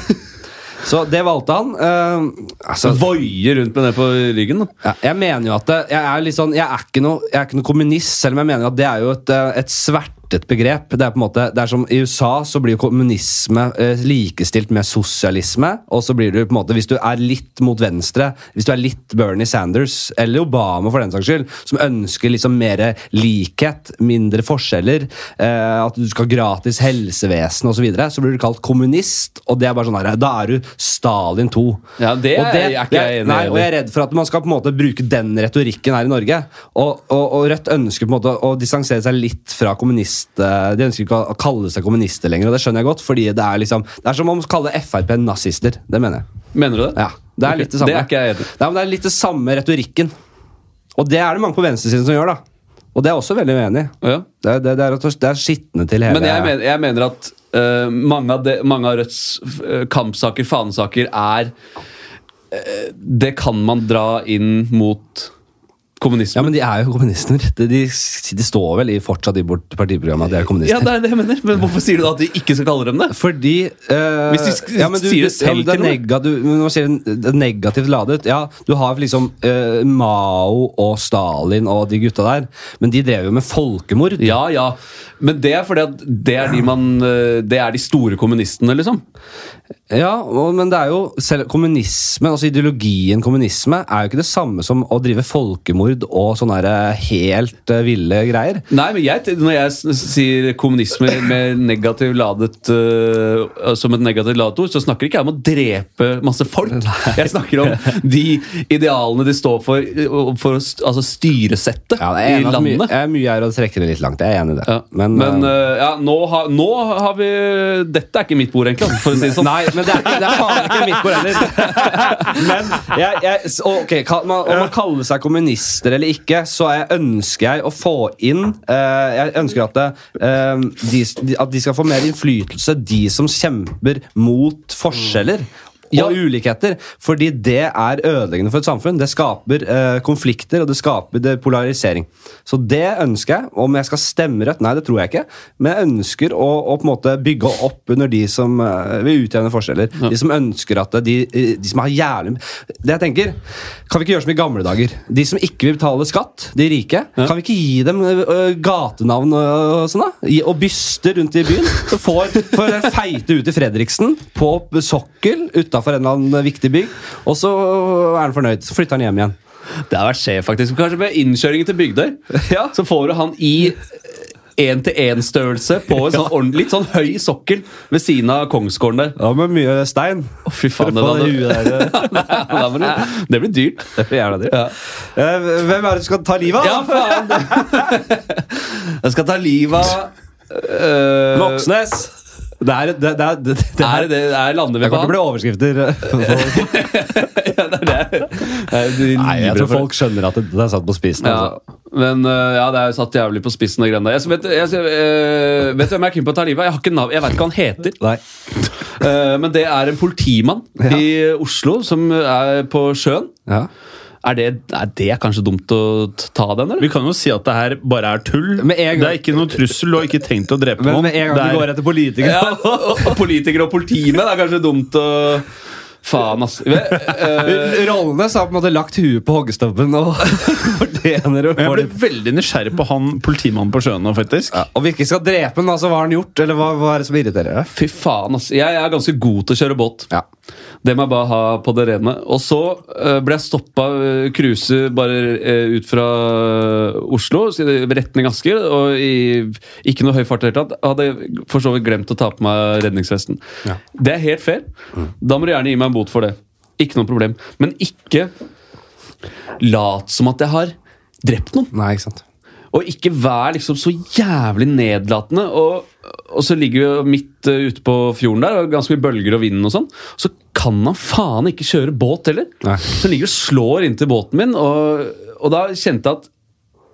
A: Så det valgte han. eh, altså,
C: Voie rundt med det på ryggen. Da.
A: ja, jeg mener jo at det, jeg, er litt sånn, jeg, er ikke noe, jeg er ikke noe kommunist, selv om jeg mener at det er jo et, eh, et sverte vært et begrep. Det er på en måte, det er som I USA så blir jo kommunisme eh, likestilt med sosialisme. Og så blir du på en måte, hvis du er litt mot venstre, hvis du er litt Bernie Sanders, eller Obama for den saks skyld, som ønsker liksom mer likhet, mindre forskjeller, eh, at du skal ha gratis helsevesen osv., så, videre, så blir du kalt kommunist, og det er bare sånn her, da er du Stalin 2.
C: Ja, det
A: Og
C: er ikke jeg enig i
A: nei,
C: heller.
A: og jeg er redd for at man skal på en måte bruke den retorikken her i Norge. Og, og, og Rødt ønsker på en måte å distansere seg litt fra kommunist... eh, De ønsker ikke å- å kalle seg kommunister lenger, og det skjønner jeg godt. fordi det er liksom, det er som om å kalle Frp nazister. Det mener jeg.
C: Mener du det?
A: Ja, Det
C: Ok,
A: er litt det samme.
C: det er ikke jeg enig i.
A: Nei, men det er litt det samme retorikken. Og det er det mange på venstresiden som gjør, da. Og det er jeg også veldig uenig i.
C: Ja.
A: Det, er- det, det er rett og slett- det er skitne til hele
C: Men jeg mener, jeg mener at eh, mange, av de, mange av Rødts eh, kampsaker, fanesaker, er eh, Det kan man dra inn mot
A: Ja,
C: kommunismen.
A: men de er jo kommunister. De, de, de står vel i, fortsatt i vårt partiprogram at de er kommunister.
C: Ja, det er det jeg mener. Men hvorfor sier du da at de ikke skal kalle dem det?
A: Fordi eh,
C: Hvis de sk-
A: ja, men du,
C: sier det
A: du-
C: selv
A: det er
C: til noe.
A: nega, du, men Nå sier du det er negativt ladet. Ja, du har liksom eh, Mao og Stalin og de gutta der, men de drev jo med folkemord.
C: Ja, ja. Men det er fordi at det er de, man, eh, det er de store kommunistene, liksom.
A: Ja, og, men det er jo selv kommunismen, altså ideologien kommunisme, er jo ikke det samme som å drive folkemord og sånne her, eh, helt eh, ville greier.
C: Nei, men jeg, Når jeg s- sier kommunisme med negativ ladet øh, som et negativt ladet ord, så snakker ikke jeg om å drepe masse folk. Jeg snakker om de idealene de står for, øh, for å st- altså styresettet
A: Ja, jeg er
C: i
A: enig at Mye,
C: landet.
A: jeg er mye her å trekke det litt langt. Jeg er enig i det.
C: Ja. Men,
A: Men, eh,
C: øh, ja, nå, har- nå har vi Dette er ikke mitt bord, egentlig. For å si det sånn.
A: Nei, men det er, ikke- det er faen ikke mitt bord heller. Men jeg, jeg, så, ok, kall- man, Om man kaller seg kommunister eller ikke, så er, ønsker jeg å få inn eh, Jeg ønsker at, det, eh, de, s- de- at de skal få mer innflytelse, de som kjemper mot forskjeller.
C: Ja.
A: Og ulikheter, fordi det er ødeleggende for et samfunn. Det skaper eh, konflikter og det skaper det polarisering. Så det ønsker jeg. Om jeg skal stemme rødt? Nei, det tror jeg ikke. Men jeg ønsker å, å på en måte bygge opp under de som eh, vil utjevne forskjeller. De som ønsker at de, eh, de som har jævlig Det jeg tenker, Kan vi ikke gjøre som i gamle dager? De som ikke vil betale skatt, de rike, kan vi ikke gi dem eh, gatenavn og, og sånn? da? Gi- Og byster rundt i byen? Så får, får den feite ut i Fredriksen på sokkel utafor en eller annen viktig bygg, og så er han fornøyd. Så flytter han hjem igjen.
C: Det har vært skjev, faktisk. Kanskje med innkjøringen til Bygdøy. Så får du han i én-til-én-størrelse på en sånn ordentlig- litt sånn høy sokkel ved siden av Kongsgården der.
A: Ja, med mye stein.
C: Å, fy
A: For
C: faen,
A: å få
C: det
A: det huet der. eh.
C: Da må du- det blir dyrt.
A: Det er jævla dyrt. Eh, Hvem er det du skal ta livet av?
C: Ja, faen! Jeg skal ta livet av øh,
A: Moxnes! Det er, det, det, det, det, det
C: Er det det er lander vi
A: Jeg
C: på?
A: kommer til å bli overskrifter. eh,
C: Eh,
A: Nei, jeg tror folk skjønner at det, det er satt på spissen.
C: ja,
A: Altså.
C: men øh, ja, det er jo satt jævlig på spissen. og greiene der. Jeg, vet, jeg, øh, vet du hvem jeg er keen på å ta livet av? Jeg, har ikke nav- jeg vet ikke hva han heter.
A: Nei.
C: Øh, men det er en politimann i Oslo som er på sjøen.
A: Ja.
C: Er det, er det kanskje dumt å t- ta den, eller?
B: Vi kan jo si at det her bare er tull.
A: Med en gang-
B: Det er ikke noe trussel og ikke tenkt å drepe
A: Men
B: noen.
A: med en gang
B: Det er-
A: du går etter politikere
C: Ja, og, og politikere og politimenn er kanskje dumt å Faen, ass. Ve- eh,
A: Rollene så har på en måte lagt huet på hoggestabben og fortjener å få
B: Men jeg
A: det.
B: ble veldig nysgjerrig på han politimannen på sjøen nå, faktisk.
A: Ja, Om vi ikke skal drepe den, altså, hva har han gjort? Eller hva, hva er det som irriterer deg?
C: fy faen, ass. Jeg er ganske god til å kjøre båt.
A: Ja.
C: Det må jeg bare ha på det rene. Og så eh, ble jeg stoppa uh, cruise bare eh, ut fra eh, Oslo, så i retning Asker, og i ikke noe høy fart i det hele tatt. Hadde for så vidt glemt å ta på meg redningsvesten. Det er helt fair. Da må du gjerne gi meg en bot for det. Ikke noe problem. Men ikke lat som at jeg har drept noen.
A: Nei, ikke sant.
C: Og ikke vær liksom så jævlig nedlatende. Og, og så ligger vi jo midt eh, ute på fjorden der, og ganske mye bølger og vind og sånn. Så kan han faen ikke kjøre båt heller!
A: Nei.
C: Så han ligger og slår inntil båten min, og, og da kjente jeg at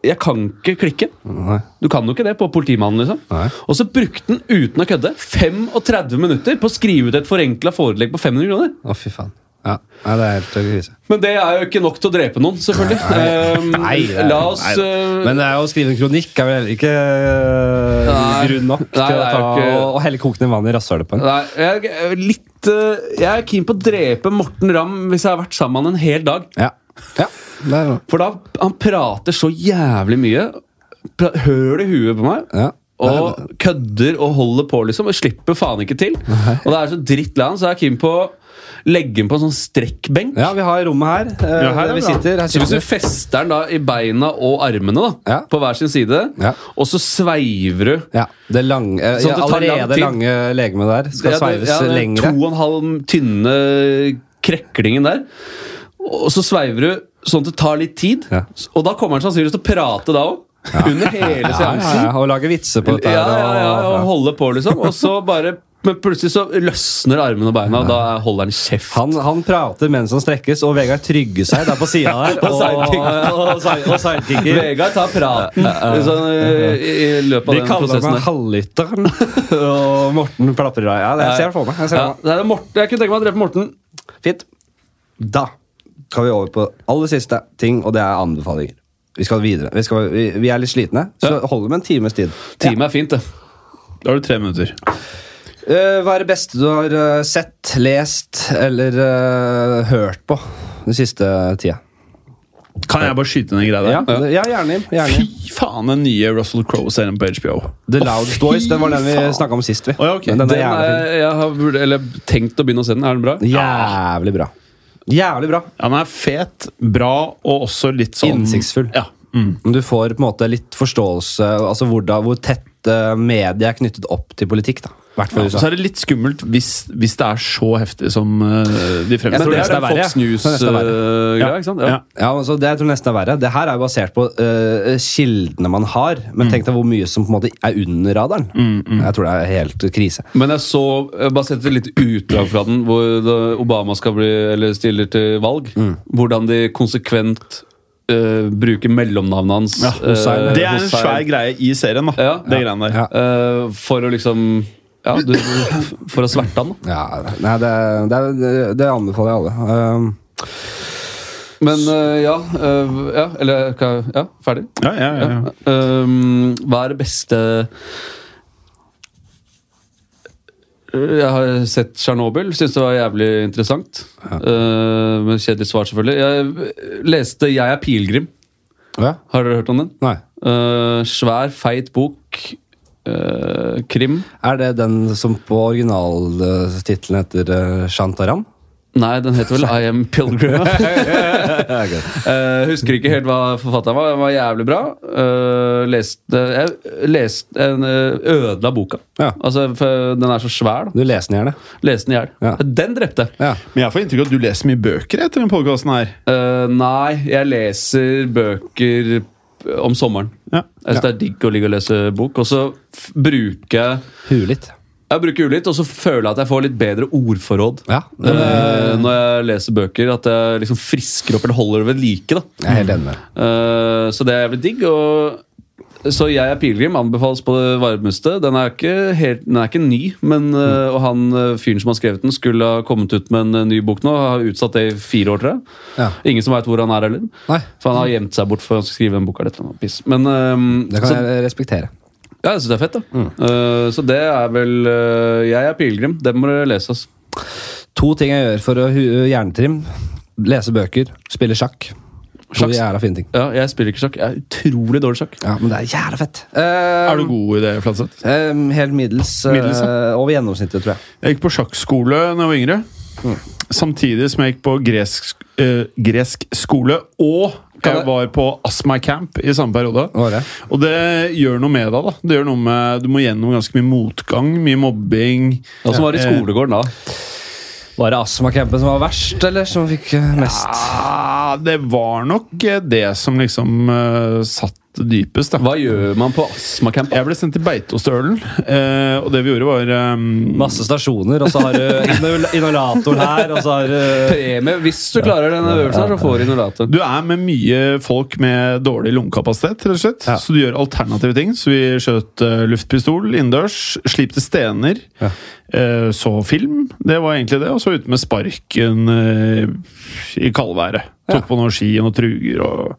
C: jeg kan ikke klikke.
A: Nei.
C: Du kan jo ikke det på politimannen. liksom.
A: Nei.
C: Og så brukte han uten å kødde 35 minutter på å skrive ut et forenkla forelegg på 500 kroner.
A: Å, fy faen. Ja. Nei, det er helt krise.
C: Men det er jo ikke nok til å drepe noen, selvfølgelig. Ehm,
A: Nei, det er-
C: La oss
A: nei.
C: eh,
A: Men det er jo å skrive en kronikk er vel heller ikke øh,
C: Nei.
A: grunn nok
C: Nei,
A: til
C: det
A: å
C: er
A: ta
C: jo ikke-
A: og, og helle kokende vann i rasshølet på en.
C: Nei, jeg er litt eh, Jeg er keen på å drepe Morten Ramm hvis jeg har vært sammen med han en hel dag.
A: Ja. ja. Det er,
C: For da han prater så jævlig mye. pra- Høl i huet på meg.
A: ja.
C: og kødder og holder på, liksom. Og slipper faen ikke til. Og det er så dritt land, så er Kim på å legge den på en sånn strekkbenk.
A: Ja, vi har rommet her. eh,
B: Ja, her er
A: der vi
B: bra.
A: sitter. Her
C: Så hvis
A: sitter
C: du fester den da i beina og armene da,
A: Ja.
C: på hver sin side,
A: Ja.
C: og så sveiver du
A: ja, det lang, eh,
C: Sånn at det tar lang
A: allerede
C: tid.
A: lange legemet der skal
C: Ja, det-
A: sveives
C: ja, det er
A: lengre.
C: To og en halv tynne kreklingen der. Og så sveiver du sånn at det tar litt tid.
A: Ja.
C: Og da kommer han sannsynligvis til å prate da òg. Under hele
A: Ja,
C: seansen.
A: ja, ja, og lage vitser på dette.
C: Ja,
A: her,
C: ja,
A: og-
C: ja, og holde på, liksom. Og så bare Men plutselig så løsner armene og beina, og da holder han kjeft.
A: Han, han prater mens han strekkes, og Vegard trygger seg der på sida der.
C: Og sidekicker.
A: og, og, side- og sidekicker.
C: Vegard tar praten sånn, eh, i, i løpet
A: De
C: av den
A: kaller
C: prosessen.
A: meg
C: der.
A: halvlytteren. og Morten plaprer av. Ja, det jeg ser jeg for meg. Jeg ser
C: Ja,
A: det for meg.
C: det er Morten, jeg kunne tenke meg å drepe Morten.
A: Fint. Da skal vi over på aller siste ting, og det er anbefalinger. Vi skal videre. Vi, skal, vi, vi er litt slitne, så holder det med en times tid. Ja.
C: Teamet er fint, det.
B: Da har du tre minutter.
A: Eh, hva er det beste du har eh, sett, lest eller eh, hørt på den siste tida?
B: Kan jeg bare skyte ned en greie der?
A: Ja, det- ja gjerne. Jim, gjerne.
B: Fy faen, den nye Russell Crowe-serien på HBO.
A: The Loud Stories, den var den vi
B: faen.
A: snakka om sist, vi.
B: Å, ja, ok.
A: Men den er
C: Den
A: jævlig fin.
C: er, jeg har vurd- eller, tenkt å begynne å se den. Er den bra?
A: Jævlig bra. Jævlig bra.
B: Ja, den er fet, bra og også litt sånn
A: Innsiktsfull.
B: Ja. Mm.
A: Men Du får på en måte litt forståelse altså hvordan, hvor tett eh, media er knyttet opp til politikk. da. Hvert fall
B: Og så er det litt skummelt hvis, hvis det er så heftig som eh, de
A: Jeg
B: fremstår.
A: tror
C: Men
A: nesten
C: det
A: det
C: er den
A: er verre,
C: Fox
A: ja. Jeg tror nesten det er
C: News-greia, ikke sant?
B: Ja.
A: ja, altså, det jeg tror nesten er verre. Det her er jo basert på eh, kildene man har. Men tenk deg hvor mye som på en måte er under radaren. Jeg tror det er helt krise.
C: Men jeg så jeg bare sett et lite utdrag fra den, hvor da Obama skal bli, eller stiller til valg. Hvordan de konsekvent eh, bruker mellomnavnet hans.
B: Ja,
A: Hussein.
C: eh,
B: Det er en
C: Hussein.
B: svær greie i serien, da.
C: Ja.
B: Det greiene der.
A: Ja.
C: Eh, for å liksom Ja, du, du- for å sverte han, da.
A: Ja, nei, det, det, det, det anbefaler jeg alle. Um,
C: Men eh, ja, eh, ja Eller hva- Ja, ferdig?
B: Ja, ja, ja, ja.
C: Um, hva er det beste Jeg har sett Tsjernobyl. Syns det var jævlig interessant. Uh, men kjedelig svar, selvfølgelig. Jeg leste 'Jeg er pilegrim'.
A: ja?
C: Har dere hørt om den?
A: Nei.
C: Uh, svær, feit bok. Uh, krim.
A: Er det den som på originaltittelen heter eh, Shantaram?
C: Nei, den heter vel 'I am Pilgrim'. Eh, husker ikke helt hva forfatteren var. Den var jævlig bra. Eh, leste, jeg leste en eh, ødela boka.
A: Ja.
C: Altså, for den er så svær. da.
A: Du leser den gjerne.
C: Leste den i hjel.
A: Ja.
C: Den drepte jeg.
A: Ja.
B: Men jeg får inntrykk av at du leser mye bøker etter den podkasten her.
C: Eh, nei, jeg leser bøker om sommeren.
B: Ja.
C: Jeg synes Det er digg å ligge og lese bok. Og så f- bruker jeg
A: Huet litt.
C: Jeg bruker ulitt, og så føler jeg at jeg får litt bedre ordforråd
A: Ja,
C: eh, når jeg leser bøker. At jeg liksom frisker opp eller holder det ved like. da
A: Jeg er helt enig med deg.
C: Eh, Så det er jævlig digg. Og så jeg er pilegrim, anbefales på det varmeste. Den er ikke, helt, den er ikke ny, men eh,
A: Mm.
C: og han eh, fyren som har skrevet den, skulle ha kommet ut med en eh, ny bok nå. Har utsatt det i fire år, tror jeg.
A: Ja.
C: Ingen som veit hvor han er heller.
A: Nei.
C: For han har gjemt seg bort for å skrive den boka. eller et eller annet Piss. Men eh,
A: Det kan
C: så,
A: jeg Mm. respektere.
C: ja, jeg syns det er fett, da. Eh, så det er vel eh, Jeg er pilegrim. Den må dere lese. altså. ass.
A: To ting jeg gjør for å hu- uh, hjernetrim. Lese bøker, spille sjakk. To
C: Sjakk?
A: jævla fine ting.
C: Ja, jeg spiller ikke sjakk. Jeg er utrolig dårlig i sjakk.
A: Ja, men det er jævla fett.
B: Er du god i det, Flatseth?
A: Eh, helt middels. eh,
B: Middels,
A: over gjennomsnittet, tror jeg.
B: Jeg gikk på sjakkskole da jeg var yngre. Samtidig som jeg gikk på gresk, eh, gresk skole, og
C: Kan
B: jeg
C: jeg-
B: var på Astma Camp i samme periode.
A: Var det?
B: Og det gjør noe med deg. da Det gjør noe med Du må gjennom ganske mye motgang, mye mobbing.
C: Åssen var det i
B: Eh,
C: skolegården da?
A: Var det astmacampen som var verst, eller som fikk eh, mest?
B: Ah, det var nok eh, det som liksom eh, satt dypest. da
C: Hva gjør man på astmacamp? da?
B: Jeg ble sendt til Beitostølen, eh, og det vi gjorde, var eh,
A: Masse stasjoner, og så har du inhalatoren her, og så har du
C: premie. Hvis du klarer denne øvelsen, her, så får du inhalator.
B: Du er med mye folk med dårlig lungekapasitet, rett og slett.
A: Ja.
B: Så du gjør alternative ting. Så vi skjøt eh, luftpistol innendørs, slipte stener,
A: Ja.
B: eh, så film. Det var egentlig det. Og så ute med sparken eh, i kaldværet. Tok på noen ski og noen truger og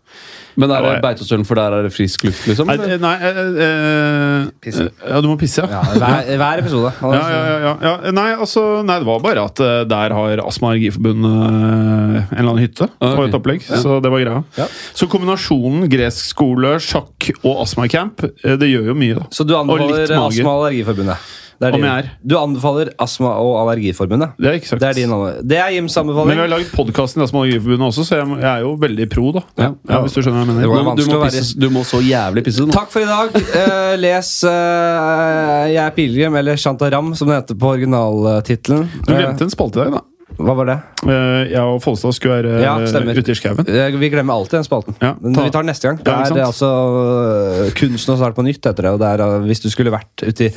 C: Men er det
B: Ja, ja.
C: Beitostølen, for der er det frisk luft, liksom?
B: Nei, eh, nei eh, eh,
A: Pisse.
B: Ja, du må pisse, ja.
A: hver, hver episode.
B: Ja, ja, ja, ja, ja. Nei, altså, nei, det var bare at eh, der har Astma- og Allergiforbundet eh, en eller annen hytte.
C: Ah, ok.
B: på et opplegg, Så det var greia.
A: Ja.
B: Så kombinasjonen gresk skole, sjakk og astmacamp, eh, det gjør jo mye, da.
A: Så du
B: Og
A: anbefaler
B: litt mage.
A: Astma- og Allergiforbundet? Det
B: Om
A: din.
B: jeg er.
A: Du anbefaler Astma- og Allergiforbundet?
B: Det er ikke sagt.
A: Det er din anbefaling. Det er Jims
B: Men vi har
A: anbefaling.
B: lagd podkasten i Astma- og Allergiforbundet også, så jeg, må- jeg er jo veldig pro, da. Ja.
C: Ja.
B: hvis du skjønner hva jeg
A: Det
B: mener.
A: var-
C: du, må-
A: vanskelig
C: du, må
A: å være-
C: pisse, du må så jævlig pisse nå.
A: Takk for i dag. Eh, les eh, Jeg er pilegrim, eller Shantaram, som det heter på originaltittelen.
B: Du glemte en spalte i dag, da.
A: hva var det?
B: Eh, Jeg og Folstad skulle være
A: Ja,
B: eh,
A: stemmer.
B: ute i skauen.
A: Eh, Vi glemmer alltid den spalten.
B: Ja,
A: Men
B: ta-
A: vi tar den neste gang. Det
B: Ja, ikke
A: er eh,
B: sant?
A: altså eh, kunsten å starte på nytt etter det. Og det er, eh, hvis du skulle vært ute i,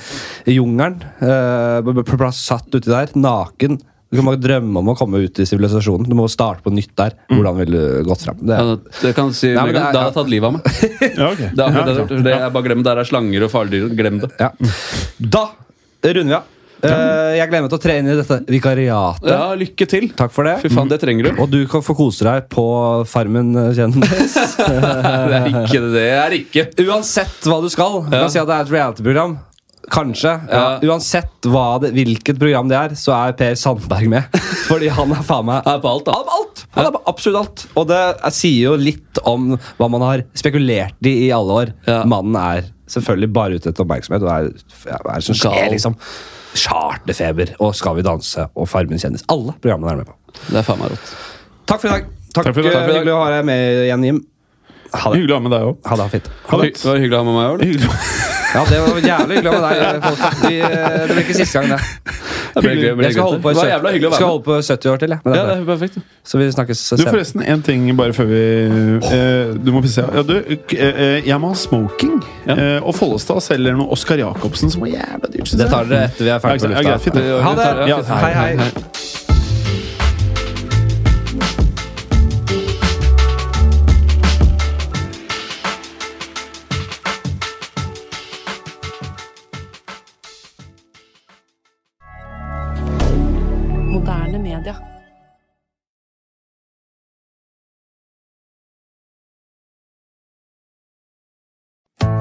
A: i jungelen, eh, b- b- plass- satt uti der, naken Du kan bare drømme om å komme ut i sivilisasjonen. Du må starte på nytt der.
B: Mm.
A: Hvordan ville du gått fram? Det
C: Ja,
A: er,
C: det- det kan du si,
A: Nei, men
C: med
A: det
C: en gang.
A: er-
C: Da har jeg tatt livet av meg.
B: Ja, ok.
C: Det er akkurat
B: Ja,
C: det, jeg
B: klart.
C: tror. det er bare glem. Der er slanger og fardyr. Glem det.
A: ja. Da runder vi av. Eh, jeg glemte å tre inn i dette vikariatet.
C: Ja, lykke til.
A: Takk for det.
C: Fy faen, det trenger du.
A: Og du kan få kose deg på Farmen eh, kjendis.
C: Det er ikke det. det er ikke.
A: Uansett hva du skal. Du
C: Ja.
A: kan si at det er et reality-program. Kanskje. Ja.
C: Ja.
A: Uansett hva det, hvilket program det er, så er Per Sandberg med. Fordi han er faen meg
C: Han er på alt, da.
A: Han er på alt! Han er på absolutt alt. Og det er- sier jo litt om hva man har spekulert i i alle år.
C: Ja.
A: Mannen er selvfølgelig bare ute etter oppmerksomhet. Og er, ja, hva er det som skjer,
C: Gal.
A: liksom? Charterfeber og Skal vi danse og Farmen kjendis. Alle programmene er han med på.
C: Det er faen meg rått.
A: Takk for i dag. Takk,
B: Takk for i dag.
A: eh,
B: Takk for i dag.
A: Hyggelig å ha deg med igjen, Jim. Ha det.
B: Hyggelig å ha med deg òg.
A: Ha det ha det fint.
B: Ha
C: Hy-
B: det.
C: Det var hyggelig å ha med meg i år.
B: Hyggelig å-
A: Ja, det var jævlig hyggelig med deg. Folk. Vi, eh, det blir ikke siste gang, det.
C: Det ble hyggelig- det ble
A: Jeg skal
C: hyggelig.
A: holde på i
C: Det var jævla
A: 70, skal
C: hyggelig å være med.
A: holde på i 70 år til, jeg. Men det
C: Ja,
A: er
C: det
A: bra.
C: er perfekt.
A: Så vi snakkes
B: Du,
A: senere.
B: forresten, en ting bare før vi eh, Du må pisse. Ja, du, k- eh, jeg må ha smoking. Eh, og Follestad selger noe Oskar Jacobsen som var jævla dyrt. synes
A: Det
B: jeg.
A: tar dere etter vi er ferdig på
B: Ja, greit, fint,
A: lufta.
B: det.
A: Ha det!
B: Ja,
A: Hei, hei.
D: Moderne media.